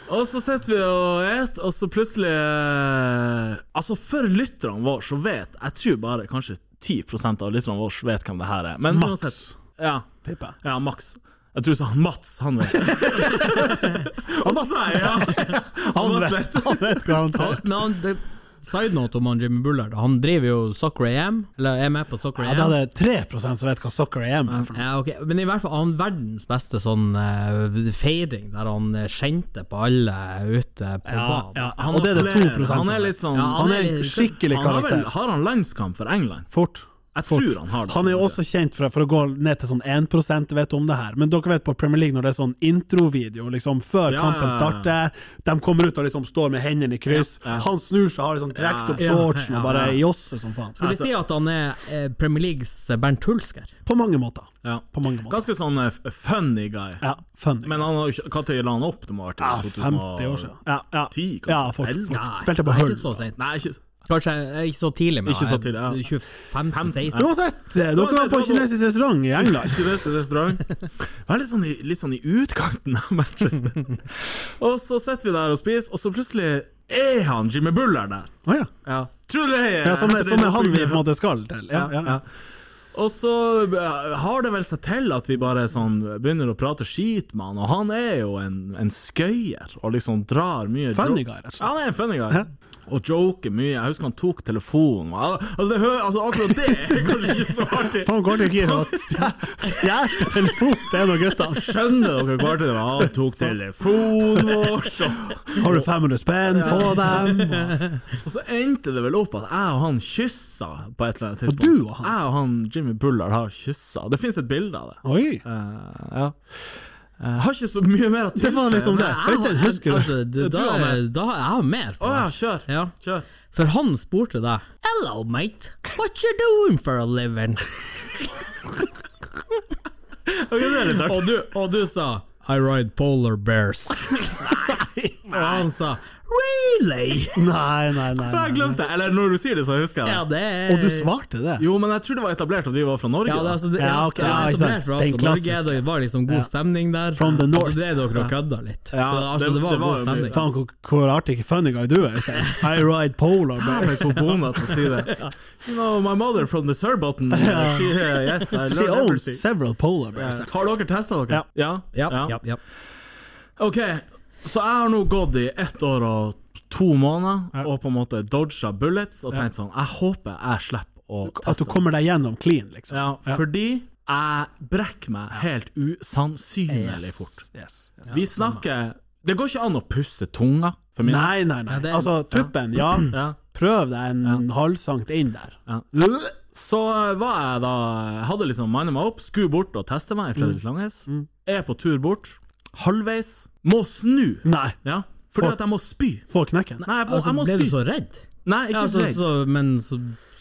Speaker 3: Og så sitter vi og et, og så plutselig eh, Altså, for lytterne våre så vet Jeg tror bare kanskje 10 av lytterne våre vet hvem det her er. Men
Speaker 2: Mats.
Speaker 3: uansett- Ja,
Speaker 2: Tipper jeg.
Speaker 3: ja, Max. Jeg tror så han Mats, han vet det. Og så sa jeg
Speaker 4: *laughs*
Speaker 3: ja.
Speaker 2: Han
Speaker 3: Mats
Speaker 2: vet, han vet garantert.
Speaker 4: Men han, det, side note om han Jimmy Bullard. Han driver jo Soccer AM, eller er med på Soccer
Speaker 2: Ja,
Speaker 4: AM.
Speaker 2: det er 3 som vet hva soccer er. men-
Speaker 4: Ja, ok, Men i hvert fall han verdens beste sånn eh, feiring, der han eh, skjente på alle ute på
Speaker 2: Ja,
Speaker 4: banen.
Speaker 2: ja,
Speaker 3: Han
Speaker 2: og det er
Speaker 3: har
Speaker 2: det 2
Speaker 3: flere. Han er
Speaker 2: som
Speaker 3: litt
Speaker 2: vet.
Speaker 3: sånn
Speaker 4: Ja,
Speaker 2: Han er en skikkelig
Speaker 3: han har, vel,
Speaker 2: karakter.
Speaker 3: har han landskamp for England?
Speaker 2: Fort.
Speaker 3: Jeg
Speaker 2: Fort.
Speaker 3: tror han har det.
Speaker 2: Han er jo også kjent for, for å gå ned til sånn 1 vet om det her, men dere vet på Premier League når det er sånn introvideo liksom før
Speaker 3: Ja,
Speaker 2: kampen
Speaker 3: ja,
Speaker 2: starter, de kommer ut og liksom står med hendene i kryss, han snur seg, har liksom trukket opp
Speaker 4: Ja, ja,
Speaker 2: shortsen
Speaker 4: ja,
Speaker 2: og bare
Speaker 4: ja.
Speaker 2: josser som faen.
Speaker 4: Skulle
Speaker 3: Altså-
Speaker 4: si at han er eh, Premier Leagues Bernt Hulsker.
Speaker 2: På mange måter.
Speaker 3: ja.
Speaker 2: På mange måter.
Speaker 3: Ganske sånn eh, f- funny guy.
Speaker 2: Ja, funny.
Speaker 3: Men han har jo ikke Når la han opp? Det må ha vært i
Speaker 2: Ja, 50 år siden. Ja, ja.
Speaker 3: 10, kanskje?
Speaker 2: ja fort. fort.
Speaker 3: Nei,
Speaker 2: Spilte på
Speaker 4: Nei,
Speaker 2: Hull.
Speaker 4: Ikke så sent.
Speaker 3: Nei, ikke
Speaker 4: Kanskje eh, ikke så tidlig, men
Speaker 3: Ikke så tidlig, ja.
Speaker 4: 25-16.
Speaker 2: Uansett, dere var på kinesisk restaurant i England.
Speaker 3: Kinesisk restaurant. Var litt sånn, i, litt sånn i utkanten av Manchester.
Speaker 2: *laughs*
Speaker 3: og så sitter vi der og spiser, og så plutselig er han Jimmy Buller der.
Speaker 2: Å ja.
Speaker 3: Ja. Tror du det er
Speaker 2: ja som, er, som er han vi på en måte skal til. Ja, ja, ja.
Speaker 3: Og så eh, har det vel seg til at vi bare sånn begynner å prate skit med han, og han er jo en, en skøyer og liksom drar mye dro-
Speaker 2: Funny guy, rett og slett.
Speaker 3: Ja, han er en funny guy. Og joker mye. Jeg husker han tok telefonen. og al- Altså, det hø altså akkurat det er kanskje ikke så artig.
Speaker 2: Faen, går det ikke *laughs* å stjele telefonen til en av gutta?
Speaker 3: Skjønner dere hvor artig det var? Han tok telefonen vår, så
Speaker 2: Har du 500 spenn, få dem.
Speaker 3: Og så endte det vel opp at jeg og han kyssa på et eller annet tidspunkt.
Speaker 2: du og han?
Speaker 3: Jeg og han Jimmy Bullard har kyssa. Det fins et bilde av det.
Speaker 2: Oi.
Speaker 3: Eh, ja. Eh, har ikke så mye mer å
Speaker 2: Det
Speaker 3: tilføye.
Speaker 2: var liksom det.
Speaker 3: Nei,
Speaker 2: Øystein, husker du?
Speaker 4: Altså, det, da,
Speaker 3: Du har mer.
Speaker 4: da jeg har mer.
Speaker 3: Å
Speaker 4: på
Speaker 3: ja,
Speaker 4: det.
Speaker 3: kjør.
Speaker 4: Ja.
Speaker 3: kjør.
Speaker 4: For han spurte deg Hello, mate. What you doing for a living?
Speaker 3: Ok, det er litt artig.
Speaker 4: Og du, og du sa I ride polar bears. og han sa Really?
Speaker 2: Nei, nei, nei.
Speaker 3: For jeg
Speaker 2: nei, nei.
Speaker 3: glemte det. Eller når du sier det, så husker
Speaker 4: Ja,
Speaker 3: jeg det.
Speaker 4: det er
Speaker 2: Og du svarte det?
Speaker 3: Jo, men jeg tror det var etablert at vi var fra Norge.
Speaker 4: Ja, det, er
Speaker 3: da.
Speaker 4: altså, det,
Speaker 2: Ja,
Speaker 4: ja,
Speaker 2: ok,
Speaker 4: det er
Speaker 2: ja, ikke sant.
Speaker 4: etablert fra
Speaker 2: Den
Speaker 4: altså, Norge.
Speaker 2: klassiske.
Speaker 4: Det var liksom god stemning der.
Speaker 2: From the north.
Speaker 4: Altså, det er dere og kødda litt.
Speaker 3: Ja,
Speaker 4: så, altså,
Speaker 3: det-
Speaker 4: det, var
Speaker 3: det var
Speaker 4: god
Speaker 3: jo
Speaker 4: stemning.
Speaker 2: Faen, hvor, hvor artig funny guy du er, Øystein. I ride polar
Speaker 3: Jeg
Speaker 2: bear.
Speaker 3: fikk på bona til å si
Speaker 4: *laughs*
Speaker 3: det. You know, my mother from the Surbotten. She, uh, yes,
Speaker 2: *laughs*
Speaker 3: I
Speaker 2: She
Speaker 3: learned
Speaker 2: owns
Speaker 3: everything.
Speaker 2: several polar bears.
Speaker 3: Eh, Har dere testa dere?
Speaker 4: Ja, ja, ja.
Speaker 3: Ok, så jeg har nå gått i ett år og to måneder
Speaker 2: Ja.
Speaker 3: og på en måte dodga bullets og tenkt sånn Jeg håper jeg slipper å
Speaker 2: At du
Speaker 3: teste.
Speaker 2: kommer deg gjennom clean, liksom.
Speaker 3: Ja, fordi jeg brekker meg helt usannsynlig fort.
Speaker 2: Yes. yes.
Speaker 3: Vi snakker Det går ikke an å pusse tunga, for min
Speaker 2: Nei, nei,
Speaker 4: Ja,
Speaker 2: nei.
Speaker 4: det er-
Speaker 2: Altså, tuppen, ja.
Speaker 3: ja.
Speaker 2: Prøv deg en halvsankt inn der.
Speaker 3: Ja. Så eh, var jeg da Hadde liksom mindet meg opp, skulle bort og teste meg i Fredrik Langnes. Er på tur bort, halvveis, må snu.
Speaker 2: Nei.
Speaker 3: Ja, fordi at jeg må spy.
Speaker 2: Få knekken.
Speaker 3: Nei, jeg må,
Speaker 4: Altså,
Speaker 3: jeg må
Speaker 4: ble du
Speaker 3: spy.
Speaker 4: så redd?
Speaker 3: Nei, ikke
Speaker 4: Ja, altså,
Speaker 3: redd.
Speaker 4: så, men så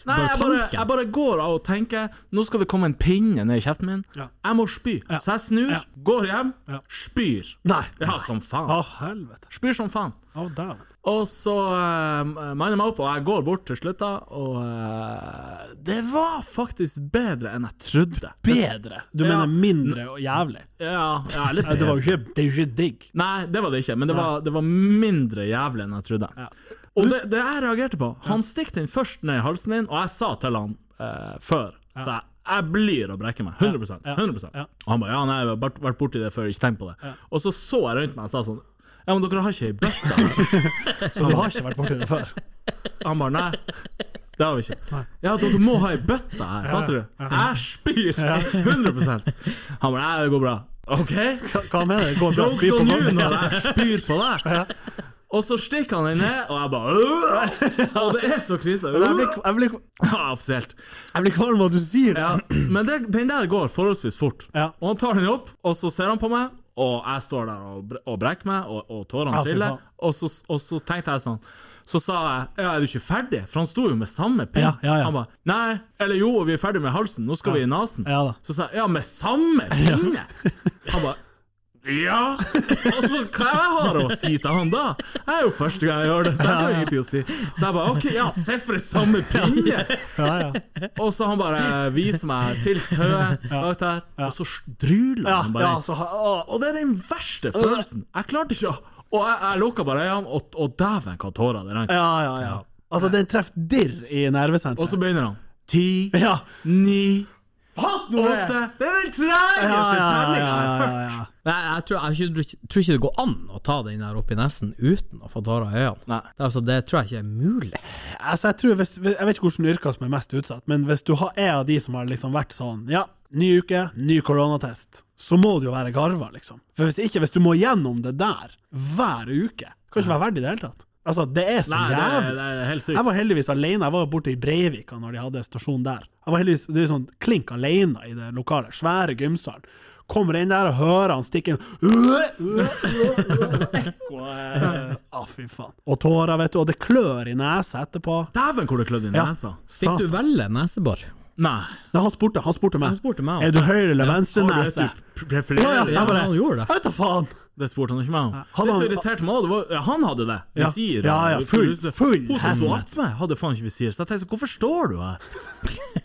Speaker 3: Nei, jeg bare,
Speaker 4: tanken.
Speaker 3: jeg bare går av og tenker Nå skal det komme en pinne ned i kjeften min.
Speaker 2: Ja.
Speaker 3: Jeg må spy.
Speaker 2: Ja.
Speaker 3: Så jeg snur,
Speaker 2: Ja.
Speaker 3: går hjem,
Speaker 2: Ja.
Speaker 3: spyr.
Speaker 2: Nei.
Speaker 3: Ja, som
Speaker 2: Å,
Speaker 3: faen.
Speaker 2: helvete.
Speaker 3: Spyr som faen.
Speaker 2: Oh, damn.
Speaker 3: Og så uh, manner jeg meg opp, og jeg går bort til slutt, da, og eh, Det var faktisk bedre enn jeg trodde.
Speaker 2: Bedre. Du
Speaker 3: Ja.
Speaker 2: mener mindre og jævlig.
Speaker 3: Ja, ja litt
Speaker 2: Ja, Det, var jo ikke, det er jo ikke digg.
Speaker 3: Nei, det var det ikke, men det var, det var mindre jævlig enn jeg trodde.
Speaker 2: Ja.
Speaker 3: Og det, det jeg reagerte på Han stikk den først ned i halsen min, og jeg sa til han eh, før Så jeg, jeg blir å brekke meg. 100
Speaker 2: Ja.
Speaker 3: 100
Speaker 2: Ja.
Speaker 3: Og han ba ja, nei, jeg har vært- vært borti det før, ikke tenk på det. Og så så jeg rundt meg og sa sånn Ja, men dere har ikke ei bøtte?
Speaker 2: Så du har ikke vært borti det før?
Speaker 3: Han bare nei. Det har vi ikke. Ja, dere må ha ei bøtte her, fatter du? Jeg spyr! 100 Han bare nei, det går bra. OK?
Speaker 2: Hva, hva mener du? Går det bra å spy
Speaker 3: Jokes
Speaker 2: på
Speaker 3: on you
Speaker 2: folk?
Speaker 3: når jeg spyr på deg. Og så stikker han den ned, og jeg bare «Åh!» Og det er så krise.
Speaker 2: Men Jeg blir, jeg, blir,
Speaker 3: Ja, offisielt.
Speaker 2: jeg blir kvalm av at du sier det.
Speaker 3: Ja, men det, den der går forholdsvis fort.
Speaker 2: Ja.
Speaker 3: Og han tar den opp, og så ser han på meg, og jeg står der og, bre- og brekker meg, og, og tårene
Speaker 2: Ja, fy
Speaker 3: triller.
Speaker 2: faen.
Speaker 3: Og så, og så tenkte jeg sånn så sa jeg ja, er du ikke ferdig? For han sto jo med samme pinn.
Speaker 2: Ja, ja, ja.
Speaker 3: Han bare nei, eller jo, vi er ferdig med halsen, nå skal vi i nesen.
Speaker 2: Ja da.
Speaker 3: Så sa jeg ja,
Speaker 2: *laughs*
Speaker 3: med samme pinne! Han bare ja! Altså, hva jeg har å si til han da? Jeg er jo første gang jeg gjør det, så jeg har ingenting å si. Så jeg bare OK, ja, se for det samme pinne!
Speaker 2: Ja, ja.
Speaker 3: Og så han bare viser meg til tauet bak der, og så druler
Speaker 2: Ja,
Speaker 3: han
Speaker 2: ja, altså.
Speaker 3: bare. inn.
Speaker 2: så, har- å,
Speaker 3: Og det er den verste følelsen. Jeg klarte ikke å Og jeg, jeg lukka bare øynene, og, og dæven, hva tårer det rant.
Speaker 2: ja, ja, ja. Altså, den treffer dirr i
Speaker 3: Og
Speaker 2: nervesenteret.
Speaker 3: så begynner han. Ti,
Speaker 2: Ja.
Speaker 3: ni,
Speaker 2: Fatt nå det!
Speaker 3: åtte Det er den tregeste
Speaker 2: Ja, ja,
Speaker 3: tellinga jeg
Speaker 2: ja,
Speaker 3: har
Speaker 2: ja,
Speaker 3: hørt.
Speaker 2: ja.
Speaker 4: Nei, jeg tror, jeg, tror ikke- tror ikke det går an å ta den der opp i nesen uten å få tårer i øynene.
Speaker 3: Nei.
Speaker 4: Det, er altså, det tror jeg ikke er mulig.
Speaker 2: Altså, jeg, tror hvis, jeg vet ikke hvilken yrker som er mest utsatt, men hvis du har, er av de som har liksom vært sånn Ja, ny uke, ny koronatest. Så må det jo være garva, liksom. For hvis ikke, hvis du må gjennom det der hver uke, kan ikke være verdig i det hele tatt. Altså, det er så
Speaker 3: Nei, det er,
Speaker 2: jævlig.
Speaker 3: det er helt sykt.
Speaker 2: Jeg var heldigvis alene. Jeg var borte i Breivika når de hadde stasjon der. Jeg var heldigvis det er sånn klink alene i det lokale. Svære gymsalen. Kommer inn der og hører han stikke
Speaker 3: *laughs*
Speaker 2: inn Ekko eh, ah, fy faen. Og tårer, vet du. Og det klør i nesa etterpå.
Speaker 3: Dæven, hvor det klødde i
Speaker 2: Ja.
Speaker 3: nesa.
Speaker 4: Fikk du
Speaker 2: Satan.
Speaker 4: velge nesebor?
Speaker 3: Nei.
Speaker 2: Nei, han spurte, han spurte meg.
Speaker 4: Han spurte meg,
Speaker 2: Er
Speaker 4: altså.
Speaker 2: du høyre- eller
Speaker 3: Har du
Speaker 2: venstrenese?
Speaker 3: et du prefererer?
Speaker 2: Ja, ja,
Speaker 4: Ja,
Speaker 2: jeg bare
Speaker 4: han gjorde
Speaker 2: Jeg
Speaker 4: det.
Speaker 2: vet da faen!
Speaker 3: Det spurte han ikke meg om.
Speaker 2: han
Speaker 3: det
Speaker 2: hadde-
Speaker 3: som irriterte meg også, det var ja, han hadde det.
Speaker 2: Ja.
Speaker 3: Visir.
Speaker 2: Ja, ja,
Speaker 3: og-
Speaker 2: full-
Speaker 3: Hun-
Speaker 2: full
Speaker 3: Hun som sto
Speaker 2: hazmat.
Speaker 3: attmed meg, hadde faen ikke visir. Så jeg tenkte sånn, hvorfor står du *laughs* her?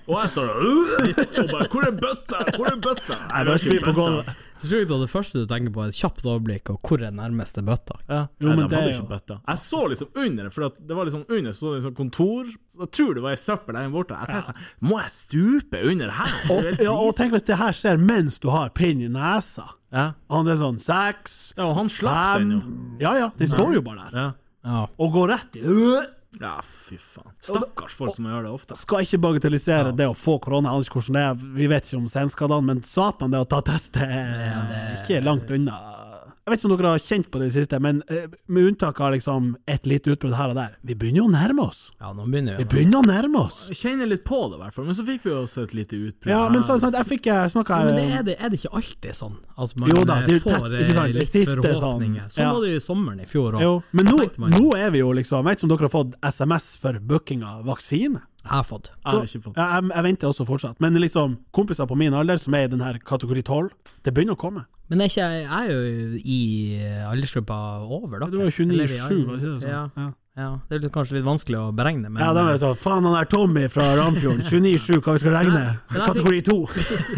Speaker 3: Og jeg står der øh, og bare Hvor er bøtta? Hvor er bøtta?
Speaker 2: Jeg bør spy på gulvet.
Speaker 4: tror ikke det første du tenker på, er et kjapt overblikk og hvor er nærmeste bøtta.
Speaker 3: Ja.
Speaker 2: Jo,
Speaker 3: Nei,
Speaker 2: men
Speaker 3: de
Speaker 2: det er
Speaker 3: hadde
Speaker 2: jo-
Speaker 3: ikke bøtta. Jeg så liksom under, for at det var liksom under så det liksom kontor så Jeg tror det var ei søppel der borte. Jeg tenkte sånn, Må jeg stupe under her? Det er jo helt
Speaker 2: Ja, og
Speaker 3: krise.
Speaker 2: tenk hvis det her skjer mens du har pinn i nesa.
Speaker 3: ja.
Speaker 2: Han er sånn seks,
Speaker 3: ja, og han slapp
Speaker 2: fem
Speaker 3: den jo.
Speaker 2: Ja ja, den står jo bare der.
Speaker 3: Ja.
Speaker 4: Ja.
Speaker 2: Og går rett i Øh!
Speaker 3: ja, fy faen. Stakkars folk som gjør det ofte.
Speaker 2: Skal ikke bagatellisere det å få korona, jeg aner ikke hvordan det er, vi vet ikke om senskadene, men satan, det å ta test det er ikke langt unna. Jeg vet ikke om dere har kjent på det i det siste, men eh, med unntak av liksom et lite utbrudd her og der, vi begynner jo å nærme oss.
Speaker 4: ja, nå begynner
Speaker 2: Vi
Speaker 4: vi.
Speaker 2: begynner å nærme oss.
Speaker 3: Jeg kjenner litt på det, i hvert fall. Men så fikk vi jo også et lite utbrudd.
Speaker 2: Ja, men
Speaker 3: her.
Speaker 2: sånn, sånn, jeg fikk eh, snakka her
Speaker 4: Men det er, det, er det ikke alltid sånn? At man
Speaker 2: Jo da, det er jo
Speaker 4: eh,
Speaker 2: tett,
Speaker 4: får
Speaker 2: ikke sant?
Speaker 4: eh,
Speaker 2: Det
Speaker 4: litt
Speaker 2: siste sånn.
Speaker 4: forhåpninger. Sånn
Speaker 2: Ja.
Speaker 4: var det jo i sommeren i fjor òg.
Speaker 2: Jo, men nå,
Speaker 4: tenkte man-
Speaker 2: nå er vi jo liksom Jeg vet ikke om dere har fått SMS for booking av vaksine?
Speaker 4: Jeg har fått.
Speaker 3: Jeg har ikke fått
Speaker 2: Ja, jeg, jeg venter også fortsatt. Men liksom, kompiser på min alder som er i den her kategori 12, det begynner å komme.
Speaker 4: Men er ikke, jeg er jo i aldersgruppa over, da.
Speaker 2: Du var jo
Speaker 4: Eller i
Speaker 2: 29-7, var ikke det?
Speaker 4: Ja.
Speaker 2: Sånn? Ja.
Speaker 4: ja, det er litt- kanskje litt vanskelig å beregne, men
Speaker 2: Ja, de er sånn Faen, han er Tommy fra
Speaker 4: *laughs*
Speaker 2: Ramfjorden. 29-7, hva vi skal regne?
Speaker 4: Nei, men altså- jeg
Speaker 2: Kategori 2.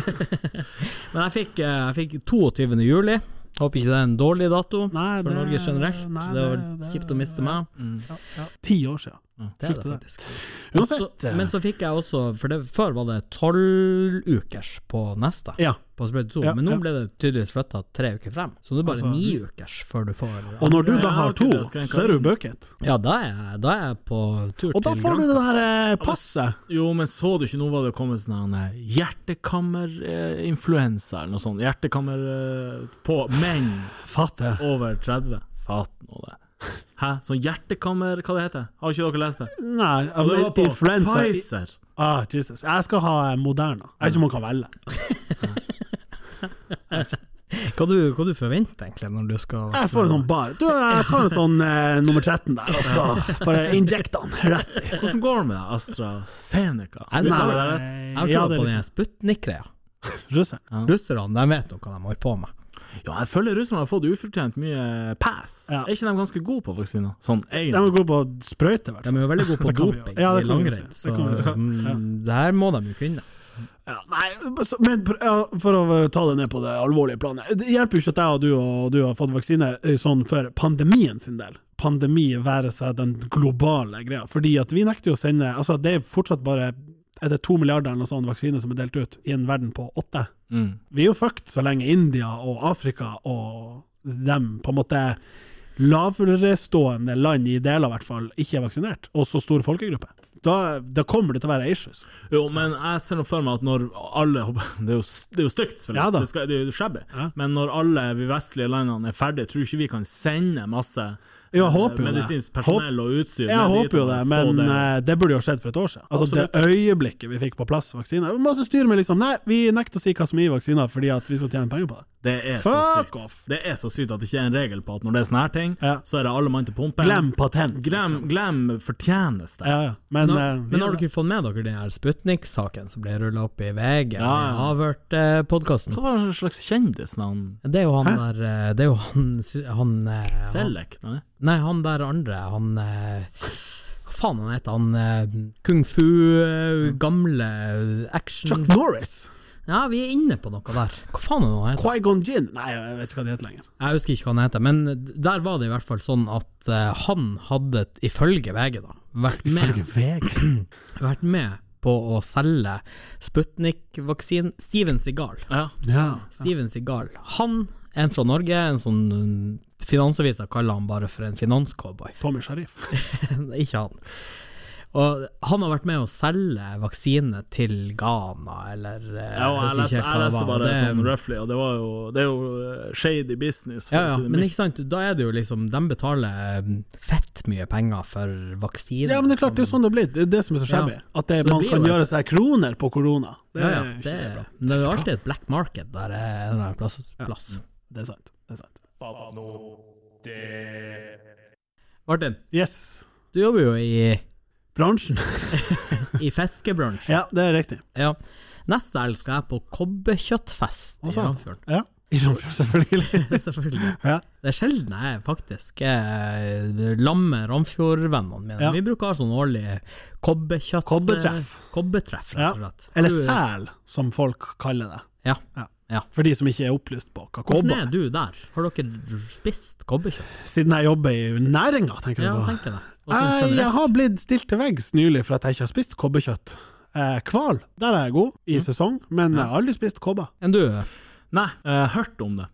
Speaker 4: Men jeg fikk, eh, jeg fikk 22. juli. Håper ikke det er en dårlig dato
Speaker 2: Nei,
Speaker 4: for
Speaker 2: det-
Speaker 4: Norge generelt.
Speaker 2: nei,
Speaker 4: det var
Speaker 2: det- Mm.
Speaker 4: kjipt å miste meg.
Speaker 2: Ti år siden.
Speaker 4: Det er det
Speaker 2: Sjukt,
Speaker 4: faktisk. Og så,
Speaker 2: Uansett. eh,
Speaker 4: men så fikk jeg også, for det, før var det tolv ukers på neste,
Speaker 2: Ja.
Speaker 4: på sprøyte to,
Speaker 2: Ja,
Speaker 4: men nå
Speaker 2: ja.
Speaker 4: ble det tydeligvis flytta tre uker frem. Så nå er det bare
Speaker 2: Altså-
Speaker 4: ni ukers før du får
Speaker 2: Og når du
Speaker 3: Ja,
Speaker 2: da
Speaker 3: jeg har
Speaker 2: har
Speaker 3: ikke
Speaker 2: to,
Speaker 3: det, skal jeg
Speaker 2: så er du bucket.
Speaker 4: Ja, da er, jeg- da er jeg på tur
Speaker 2: Og da
Speaker 4: til
Speaker 2: får du
Speaker 4: Gran-
Speaker 2: det der eh, passet.
Speaker 3: Jo, men så du ikke nå var det kommet sånn her hjertekammerinfluensa eller noe sånt? Hjertekammer eh, på menn
Speaker 2: Fatter.
Speaker 3: over 30. Fatt nå det. Hæ? Sånn hjertekammer Hva det heter Har ikke dere lest det?
Speaker 2: Nei,
Speaker 3: Og det
Speaker 2: men
Speaker 3: var på
Speaker 2: influensa
Speaker 3: Pfizer.
Speaker 2: ah, Jesus. Jeg skal ha eh, Moderna. Jeg vet ikke om man kan velge.
Speaker 4: Hva, du, hva du forventer egentlig når du skal
Speaker 2: Jeg får en sånn bar. Du, jeg tar en sånn eh, nummer 13 der, og så bare injekta den rett i.
Speaker 3: Hvordan går det med deg, AstraZeneca?
Speaker 4: Jeg-
Speaker 3: Uttaler
Speaker 4: nei.
Speaker 3: jeg rett?
Speaker 4: Jeg har
Speaker 2: Ja,
Speaker 4: trua
Speaker 2: det er
Speaker 4: på
Speaker 2: litt-
Speaker 4: den Sputnik-greia.
Speaker 2: Russeren.
Speaker 4: Russerne de vet nå hva de holder på med.
Speaker 3: Ja, jeg føler russerne har fått ufortjent mye pass.
Speaker 2: Ja.
Speaker 3: Er ikke de ganske gode på vaksiner? Sånn
Speaker 2: De
Speaker 3: egentlig.
Speaker 2: må gå på sprøyte, i hvert
Speaker 4: De
Speaker 2: fall.
Speaker 4: er jo veldig gode på
Speaker 2: Det kan vi
Speaker 4: doping
Speaker 2: jo- ja, det kan vi
Speaker 4: i
Speaker 2: jo
Speaker 4: langrenn,
Speaker 2: si.
Speaker 4: så
Speaker 2: Det kan vi jo si.
Speaker 4: mm, det her må de jo kunne.
Speaker 2: Ja, nei, så- men pr- ja, for å eh, ta det ned på det alvorlige planet. Det hjelper jo ikke at jeg og du, og du har fått vaksine eh, sånn for pandemien sin del. Pandemi være seg den globale greia. Fordi at vi nekter jo å sende Altså, det er fortsatt bare er det to milliarder eller noe sånn vaksine som er delt ut i en verden på åtte?
Speaker 3: Mm.
Speaker 2: Vi er jo fucked så lenge India og Afrika og dem på en måte laverestående land i deler, i hvert fall, ikke er vaksinert, og så stor folkegruppe. Da, da kommer det til å være issues.
Speaker 3: Jo, men jeg ser nå for meg at når alle *laughs* Det er jo, det er jo stygt, selvfølgelig.
Speaker 2: Ja da.
Speaker 3: det, skal, det er jo shabby.
Speaker 2: Ja.
Speaker 3: Men når alle vi vestlige landene er ferdige, tror du ikke vi kan sende masse
Speaker 2: Jeg
Speaker 3: eh,
Speaker 2: håper jo det.
Speaker 3: medisinsk personell og utstyr?
Speaker 2: Jeg
Speaker 3: ned dit
Speaker 2: håper jo
Speaker 3: og
Speaker 2: det,
Speaker 3: få
Speaker 2: men eh, det burde jo skjedd for et år siden. Altså Det øyeblikket vi fikk på plass vaksiner. Det var Masse styr med liksom Nei, vi nekter å si hva som er i vaksiner fordi at vi skal tjene penger på det.
Speaker 3: Det er så
Speaker 2: Fuck
Speaker 3: sykt.
Speaker 2: off!
Speaker 3: Det er så sykt at det ikke er en regel på at når det er sånne her ting,
Speaker 2: Ja.
Speaker 3: så er det alle mann til pumpen.
Speaker 2: Glem patent.
Speaker 3: glem,
Speaker 2: liksom. glem.
Speaker 3: glem fortjeneste.
Speaker 2: Ja, ja. Men,
Speaker 4: Men,
Speaker 2: eh,
Speaker 4: men har dere fått med dere den her Sputnik-saken som ble rulla opp i VG? Ja,
Speaker 3: Ja, ja.
Speaker 4: Avhørt-podkasten.
Speaker 3: Hva var en slags kjendisnavn?
Speaker 4: Det er jo han der eh, Det er jo han, sy- han, eh, han
Speaker 3: Selek? Nei?
Speaker 4: Nei, han der andre, han eh, Hva faen han heter han? eh, Kung fu, eh, gamle eh, action
Speaker 2: Chuck Norris!
Speaker 4: Ja, vi er inne på noe der. Hva faen er det han heter?
Speaker 2: Quaigon Gin! Nei, jeg vet ikke hva det heter lenger.
Speaker 4: Jeg husker ikke hva han heter, men der var det i hvert fall sånn at eh, han hadde, ifølge VG, da, vært med
Speaker 2: VG.
Speaker 4: vært med på å selge Sputnik-vaksinen. Steven Seagal.
Speaker 3: Ja.
Speaker 2: Ja.
Speaker 4: Steven Seagal. Han, en fra Norge, en sånn Finansavisa kaller han bare for en finanscowboy.
Speaker 2: Tommy Sharif.
Speaker 4: *laughs* Ikke han. Og han har vært med å selge vaksine til Ghana, eller eh,
Speaker 3: Ja, og jeg,
Speaker 4: husker
Speaker 3: leste,
Speaker 4: helt hva
Speaker 3: jeg
Speaker 4: det
Speaker 3: leste
Speaker 4: var.
Speaker 3: bare
Speaker 4: Det-
Speaker 3: sånn roughly, og det, var jo, det er jo eh, shady business. for
Speaker 4: Ja,
Speaker 3: å
Speaker 4: ja,
Speaker 3: si det
Speaker 4: men
Speaker 3: mildt.
Speaker 4: ikke sant, da er det jo liksom De betaler mm, fett mye penger for vaksine. liksom.
Speaker 2: Ja, men det er klart, det er sånn det blir. Det er det som er så shabby.
Speaker 4: Ja.
Speaker 2: At det,
Speaker 4: Så det
Speaker 2: man
Speaker 4: blir
Speaker 2: kan
Speaker 4: jo
Speaker 2: gjøre seg kroner på korona. Det
Speaker 4: ja,
Speaker 2: er
Speaker 4: ja,
Speaker 2: ikke
Speaker 4: det,
Speaker 2: bra.
Speaker 4: men det er jo alltid et black market der det er en eller annen plass. plass.
Speaker 2: Det er sant. Det er sant.
Speaker 4: Martin,
Speaker 2: Yes.
Speaker 4: du jobber jo i,
Speaker 2: Bransjen.
Speaker 4: i fiskebransjen.
Speaker 2: *laughs* Ja, det er riktig.
Speaker 4: Ja. Neste helg skal jeg på kobberkjøttfest i
Speaker 2: Også.
Speaker 4: Ramfjorden. *laughs*
Speaker 2: Ja. I Ramfjord, selvfølgelig.
Speaker 4: Selvfølgelig.
Speaker 2: sånn. Ja.
Speaker 4: Det er sjelden jeg faktisk er lam med Ramfjord-vennene mine.
Speaker 2: Ja.
Speaker 4: Vi bruker å ha sånn årlig kobberkjøtt...
Speaker 2: Kobbertreff.
Speaker 4: Kobbertreff, rett og slett.
Speaker 2: Eller
Speaker 4: Du-
Speaker 2: sæl, som folk kaller det.
Speaker 4: Ja.
Speaker 2: Ja.
Speaker 4: Ja.
Speaker 2: For de som ikke er opplyst på hva
Speaker 4: Hvordan
Speaker 2: kobber
Speaker 4: er
Speaker 2: er.
Speaker 4: du der? Har dere spist kobberkjøtt?
Speaker 2: Siden jeg jobber i næringa, tenker
Speaker 4: Ja,
Speaker 2: du på.
Speaker 4: tenker det. Og sånn
Speaker 2: Jeg, jeg
Speaker 4: generelt.
Speaker 2: har blitt stilt til veggs nylig for at jeg ikke har spist kobberkjøtt. Eh, Hval, der er jeg god,
Speaker 4: Mm.
Speaker 2: i sesong, men jeg har aldri spist kobber.
Speaker 4: Enn du?
Speaker 3: Nei, jeg hørt om det,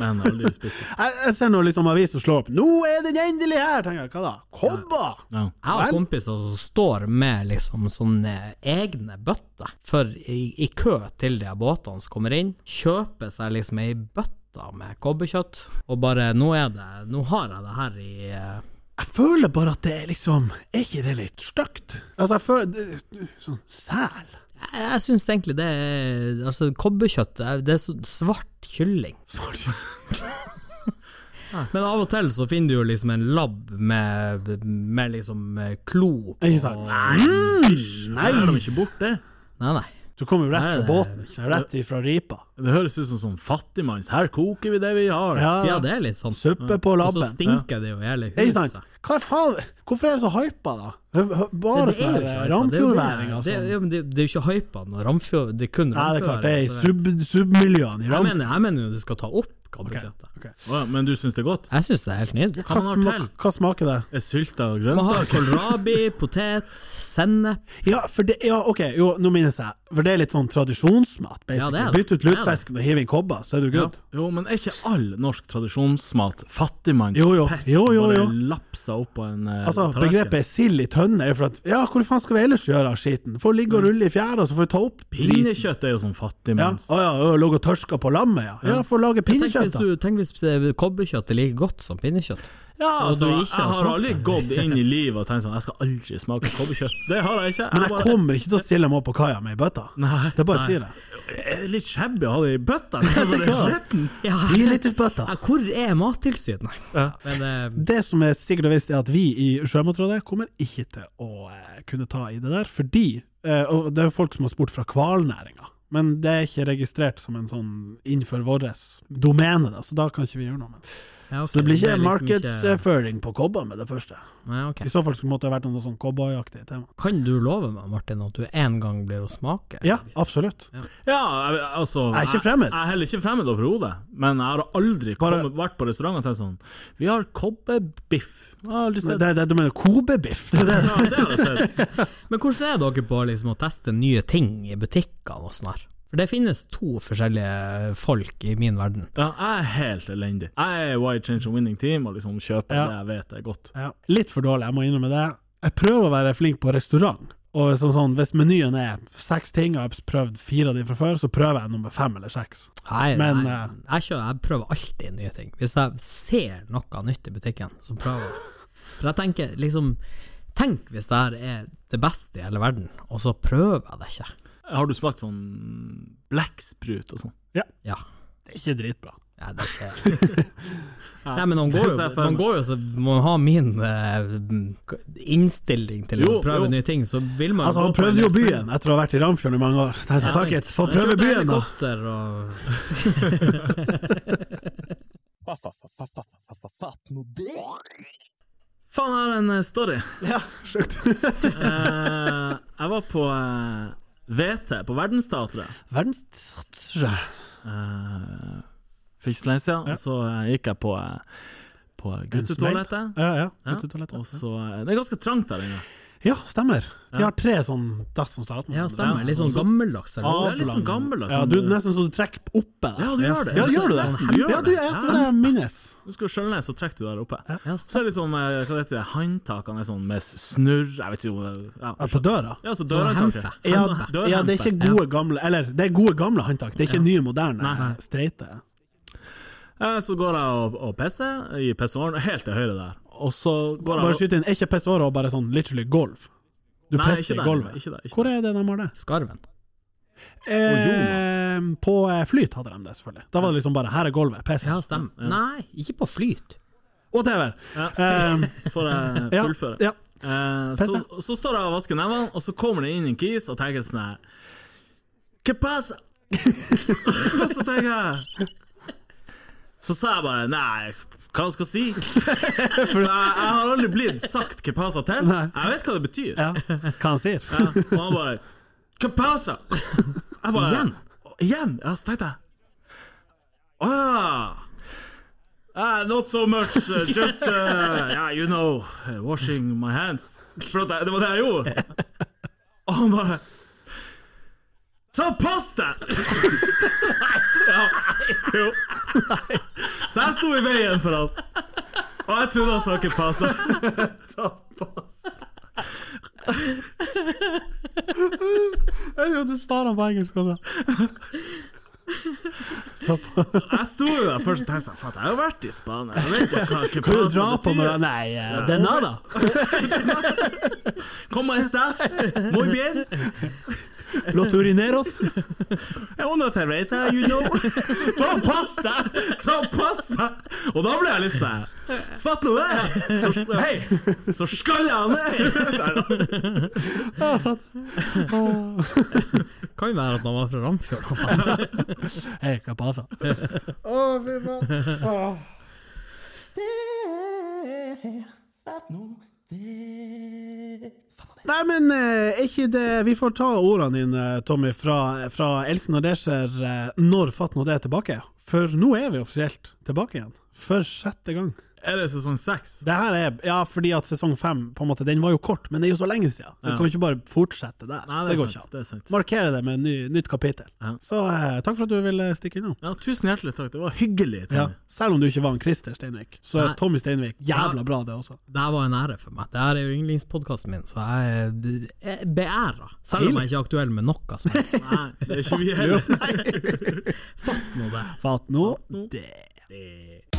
Speaker 3: men aldri spist
Speaker 2: *laughs*
Speaker 3: det.
Speaker 2: Jeg, jeg ser nå liksom aviser slår opp 'Nå er den endelig her!' tenker jeg. Hva da? Kobber!
Speaker 3: Ja.
Speaker 4: Jeg har
Speaker 2: Vel.
Speaker 4: kompiser som står med liksom sånne egne bøtter for i, i kø til de her båtene som kommer inn. Kjøper seg liksom ei bøtte med kobberkjøtt, og bare Nå er det Nå har jeg det her i eh,
Speaker 2: Jeg føler bare at det er liksom Er ikke det litt stygt? Altså, jeg føler det, Sånn sel.
Speaker 4: Jeg, jeg syns egentlig det er Altså, kobberkjøtt eh, Det er så svart kylling.
Speaker 2: Svart
Speaker 4: Men av og til så finner du jo liksom en labb med, med liksom eh, klo
Speaker 2: *laughs*
Speaker 4: på
Speaker 2: Ikke sant?
Speaker 3: Fysj,
Speaker 2: Nei.
Speaker 3: gjør de ikke bort det?
Speaker 4: Nei, nei.
Speaker 2: Du kommer jo rett
Speaker 4: Nei,
Speaker 2: fra
Speaker 4: det-
Speaker 2: båten, ikke sant? rett ifra ripa.
Speaker 3: Det høres ut som sånn fattigmanns. Her koker vi det vi har.
Speaker 4: Ja, det er litt sånn.
Speaker 2: Suppe på
Speaker 4: Og så
Speaker 2: labben.
Speaker 4: stinker det jo i hele
Speaker 2: Ikke
Speaker 4: huset.
Speaker 2: sant? Hva faen? Hvorfor er jeg så hypa, da? Hø- hø- Bare sånn eh,
Speaker 4: Det- det er
Speaker 2: sånne
Speaker 4: jo ikke hypa,
Speaker 2: ramfjordværinger
Speaker 4: Det, er jo det- det,
Speaker 2: som
Speaker 4: ja, men det, det er jo ikke hypa når Ramfjord Det er kun
Speaker 2: Nei, sånn. det er klart,
Speaker 4: Ramfjord.
Speaker 2: det er i sub submiljøene i
Speaker 4: altså. jeg,
Speaker 2: Ramfjord.
Speaker 4: mener, jeg mener jo du skal ta opp kabelkjøttet.
Speaker 3: Å, men du syns det er godt?
Speaker 4: Jeg syns det er helt nydelig.
Speaker 2: Hva,
Speaker 3: Hva man har
Speaker 2: smak,
Speaker 3: til?
Speaker 2: hva smaker det?
Speaker 3: Er sylta og
Speaker 4: Man har
Speaker 3: grønnsak?
Speaker 4: kålrabi, potet, sennep
Speaker 2: Ja, for det Ja, OK, jo, nå minnes jeg. For det er litt sånn tradisjonsmat,
Speaker 4: Ja,
Speaker 2: basically.
Speaker 4: det er det.
Speaker 2: Bytt ut
Speaker 4: Det er det.
Speaker 2: lutefisken og hiv inn kobber, så er du
Speaker 3: Ja.
Speaker 2: good.
Speaker 3: Jo, men er ikke all norsk tradisjonsmat
Speaker 2: Jo, jo.
Speaker 3: fattigmannspests?
Speaker 2: Jo, jo, jo.
Speaker 3: Bare lapsa opp på en eh,
Speaker 2: Altså,
Speaker 3: tallerken?
Speaker 2: begrepet sild i tønne er jo for at Ja, hvor faen skal vi ellers gjøre av skiten? Får ligge
Speaker 4: Mm.
Speaker 2: og rulle i fjæra, så får vi ta opp driten.
Speaker 3: Pinnekjøtt er jo sånn
Speaker 2: Ja,
Speaker 3: fattigmanns...
Speaker 2: å ja, å, lå og tørska på lammet, ja. Ja, får lage
Speaker 4: Tenk hvis,
Speaker 2: pinnekjøtt, da.
Speaker 4: du, tenk hvis eh, kobberkjøtt er like godt som
Speaker 2: *laughs*
Speaker 4: pinnekjøtt.
Speaker 3: Ja, altså, jeg
Speaker 4: du ikke har
Speaker 3: har
Speaker 4: smakt
Speaker 3: aldri gått inn i livet og tenkt sånn Jeg skal aldri smake kobberkjøtt. Det har jeg ikke.
Speaker 2: Men jeg
Speaker 3: bare-
Speaker 2: kommer ikke til å stille meg opp på kaia med ei bøtte.
Speaker 3: Nei.
Speaker 2: Det er bare å si det.
Speaker 3: Jeg er litt shabby å ha det i bøtta. Det er bare skjettent.
Speaker 4: Ja.
Speaker 2: Tilitersbøtta.
Speaker 4: Ja, Hvor er Mattilsynet? Men eh,
Speaker 2: Det som er sikkert og visst, er at vi i Sjømatrådet kommer ikke til å eh, kunne ta i det der, fordi eh, Og det er jo folk som har spurt fra hvalnæringa, men det er ikke registrert som en sånn innenfor vårt domene, da, så da kan ikke vi gjøre noe med det.
Speaker 4: ja, ok,
Speaker 2: Så det blir ikke
Speaker 4: er liksom ikke-
Speaker 2: markedsføring på kobber med det første.
Speaker 4: Nei, ok.
Speaker 2: I så fall skulle det måtte ha vært noe sånn cowboyaktig tema.
Speaker 4: Kan du love meg, Martin, at du en gang blir å smake?
Speaker 2: Ja, absolutt.
Speaker 3: Ja, jeg, altså
Speaker 2: Jeg er ikke fremmed.
Speaker 3: Jeg, jeg er heller ikke fremmed overhodet, men jeg har aldri
Speaker 2: Bare-
Speaker 3: kommet, vært på restaurant og tenkt sånn Vi har kobberbiff. Jeg har aldri
Speaker 2: Det,
Speaker 3: sett
Speaker 2: det, det, du mener kobebiff? Det, er det.
Speaker 3: Ja, det har jeg sett.
Speaker 4: Men hvordan er dere på liksom, å teste nye ting i butikkene og sånn her? For det finnes to forskjellige folk i min verden.
Speaker 3: Ja, jeg er helt elendig. Jeg er wide change and winning team og liksom kjøper
Speaker 2: Ja.
Speaker 3: det jeg vet er godt.
Speaker 2: Ja. Litt for dårlig, jeg må innrømme det. Jeg prøver å være flink på restaurant. Og sånn, sånn, Hvis menyen er seks ting, og jeg har prøvd fire av de fra før, så prøver jeg nummer fem eller seks.
Speaker 4: Jeg,
Speaker 2: Men,
Speaker 4: jeg,
Speaker 2: eh,
Speaker 4: jeg, kjører, jeg prøver alltid nye ting. Hvis jeg ser noe nytt i butikken, så prøver jeg. For jeg tenker liksom Tenk hvis det her er det beste i hele verden, og så prøver jeg det ikke.
Speaker 3: Har du smakt sånn blekksprut og sånn?
Speaker 4: Ja,
Speaker 2: Det er ikke dritbra.
Speaker 4: ja det skjer.
Speaker 2: *laughs*
Speaker 4: Nei, men man går jo,
Speaker 3: Det ser jeg for
Speaker 4: man
Speaker 3: meg.
Speaker 4: går jo så Man har min eh, innstilling til å
Speaker 3: Jo,
Speaker 4: prøve
Speaker 3: jo.
Speaker 4: nye ting, så vil man
Speaker 2: Altså,
Speaker 4: gå
Speaker 2: han
Speaker 4: på en
Speaker 2: prøvde jo
Speaker 4: ekspert-
Speaker 2: byen etter å ha vært i Ramfjorden i mange år. Jeg sa, fuck it, få
Speaker 4: Jeg
Speaker 2: prøve
Speaker 4: kjørte
Speaker 2: byen, da!
Speaker 4: helikopter og
Speaker 1: Fatt nå det!
Speaker 3: Faen, jeg har en eh, story.
Speaker 2: *laughs* Ja, sjukt.
Speaker 3: Eh, jeg var på eh, VT, på Verdensteatret.
Speaker 2: Verdens største
Speaker 3: Eh, for ikke så lenge siden.
Speaker 2: Ja.
Speaker 3: Og så eh, gikk jeg på, eh, på guttetoalettet.
Speaker 2: Ja, ja.
Speaker 3: Ja,
Speaker 2: guttetoalettet.
Speaker 3: og så, eh, det er ganske trangt der inne.
Speaker 2: Ja, stemmer. De har tre sånn dass som står attmed.
Speaker 4: Ja, stemmer.
Speaker 3: Ja,
Speaker 4: Litt sånn
Speaker 3: sånn-
Speaker 4: gammeldags. eller?
Speaker 2: Avlang.
Speaker 3: Det er litt sånn gammel, altså.
Speaker 2: Ja, du, nesten så du trekker oppe.
Speaker 3: Ja, du gjør det.
Speaker 2: Ja, gjør du det?
Speaker 3: Nesten, du gjør
Speaker 2: Ja, du, ja, det var det jeg minnes.
Speaker 3: Du skal jo skjønne det, så trekker du der oppe.
Speaker 4: Ja,
Speaker 3: Så
Speaker 4: stemmer.
Speaker 3: er det liksom, eh, hva heter det, håndtakene er sånn med snurr, jeg vet ikke om det- ja.
Speaker 2: Ja, På døra.
Speaker 3: ja, så
Speaker 4: Sånn hempe.
Speaker 3: dørhåndtaket.
Speaker 2: Ja,
Speaker 3: Altså,
Speaker 2: ja, det er
Speaker 3: dørhempe.
Speaker 2: ikke gode gamle Eller, det er gode gamle håndtak, det er ikke nye, moderne,
Speaker 3: Nei.
Speaker 2: streite.
Speaker 3: Eh, Så går jeg og, og pisser i pissoaren, helt til høyre der. Og så går jeg
Speaker 2: Bare
Speaker 3: og-
Speaker 2: skyt inn, er ikke pissoarer og bare sånn literally gulv? Du
Speaker 3: Nei,
Speaker 2: pisser
Speaker 3: ikke
Speaker 2: i
Speaker 3: der,
Speaker 2: gulvet.
Speaker 3: Ikke der, ikke
Speaker 2: Hvor er det de har det?
Speaker 4: Ah. Skarven.
Speaker 2: Eh, på eh, Flyt hadde de det, selvfølgelig. Da var det liksom bare 'her er gulvet, piss'.
Speaker 4: Ja, stemmer. Nei, ikke på flyt.
Speaker 2: Whatever.
Speaker 3: Ja.
Speaker 2: Eh,
Speaker 3: der. Får *laughs* jeg
Speaker 2: ja,
Speaker 3: fullføre?
Speaker 2: ja.
Speaker 3: Eh,
Speaker 2: Pisse.
Speaker 3: så, så står jeg og vasker nevene, og så kommer det inn en kis og tenker sånn her «Hva passa?» *laughs* Og så tenker jeg Så sa jeg bare Nei, hva skal jeg si? For jeg, jeg har aldri blitt sagt «Hva passa?» til.
Speaker 2: Nei.
Speaker 3: Jeg vet hva det betyr.
Speaker 2: ja. Hva han
Speaker 3: *laughs*
Speaker 2: sier.
Speaker 3: Ja, *laughs* og han bare «Hva passa?» Jeg bare Igjen? Igjen? Ja, så tenkte jeg Ah. Ah, not so much, uh, just uh, yeah, you know, uh, washing my hands. For at jeg, det var det jeg gjorde. Og han bare Ta pass deg! *laughs* ja, jo. Så jeg sto i veien for han. Og jeg trodde han sa ikke pass.
Speaker 2: Jeg tror du svarer på engelsk altså. også.
Speaker 3: Jeg sto jo der først og tenkte sånn, faen, jeg har jo vært i Spania. Jeg vet jo hva ikke
Speaker 2: Kan du
Speaker 3: pass
Speaker 2: dra på
Speaker 3: betyr.
Speaker 2: med Nei, eh, det er nada.
Speaker 3: Como estas? Muy bien.
Speaker 2: Los urineros.
Speaker 3: Una cerveza, you
Speaker 2: *laughs*
Speaker 3: know. Ta pasta! Ta pasta! Og da ble jeg litt sånn Fatt nå det! Så, hei, så skal jeg han ned!
Speaker 2: Ja, sant. Åh.
Speaker 4: Kan jo være at han var fra Ramfjord. han bare.
Speaker 2: Hei, hva passer? Å, fy faen. Åh. Nei, men eh, er ikke det Vi får ta ordene dine, Tommy, fra, fra Elsen og Desher eh, når Fatt nå det er tilbake. For nå er vi offisielt tilbake igjen. For sjette gang.
Speaker 3: Er det sesong seks?
Speaker 2: Det her er, ja, fordi at sesong fem på en måte, den var jo kort, men det er jo så lenge siden. Du
Speaker 3: Ja.
Speaker 2: kan jo ikke bare fortsette der.
Speaker 3: Nei,
Speaker 2: det,
Speaker 3: det er
Speaker 2: går ikke
Speaker 3: sant.
Speaker 2: an.
Speaker 3: Det er sant.
Speaker 2: Markere det med en ny, nytt kapittel.
Speaker 3: Ja.
Speaker 2: Så eh, takk for at du ville stikke innom.
Speaker 3: Ja, tusen hjertelig takk. Det var hyggelig.
Speaker 2: Ja.
Speaker 3: Tommy.
Speaker 2: Selv om du ikke var en Christer Steinvik, så er
Speaker 4: Nei.
Speaker 2: Tommy Steinvik jævla
Speaker 4: Ja.
Speaker 2: bra, det også.
Speaker 4: Det her var en ære for meg. Det her er jo yndlingspodkasten min, så jeg er be- er beæra. Selv om jeg ikke er aktuell med noe som helst. *laughs*
Speaker 3: Nei, det er ikke vi heller.
Speaker 4: Fatt nå det.
Speaker 2: Fatt nå det.
Speaker 3: Det-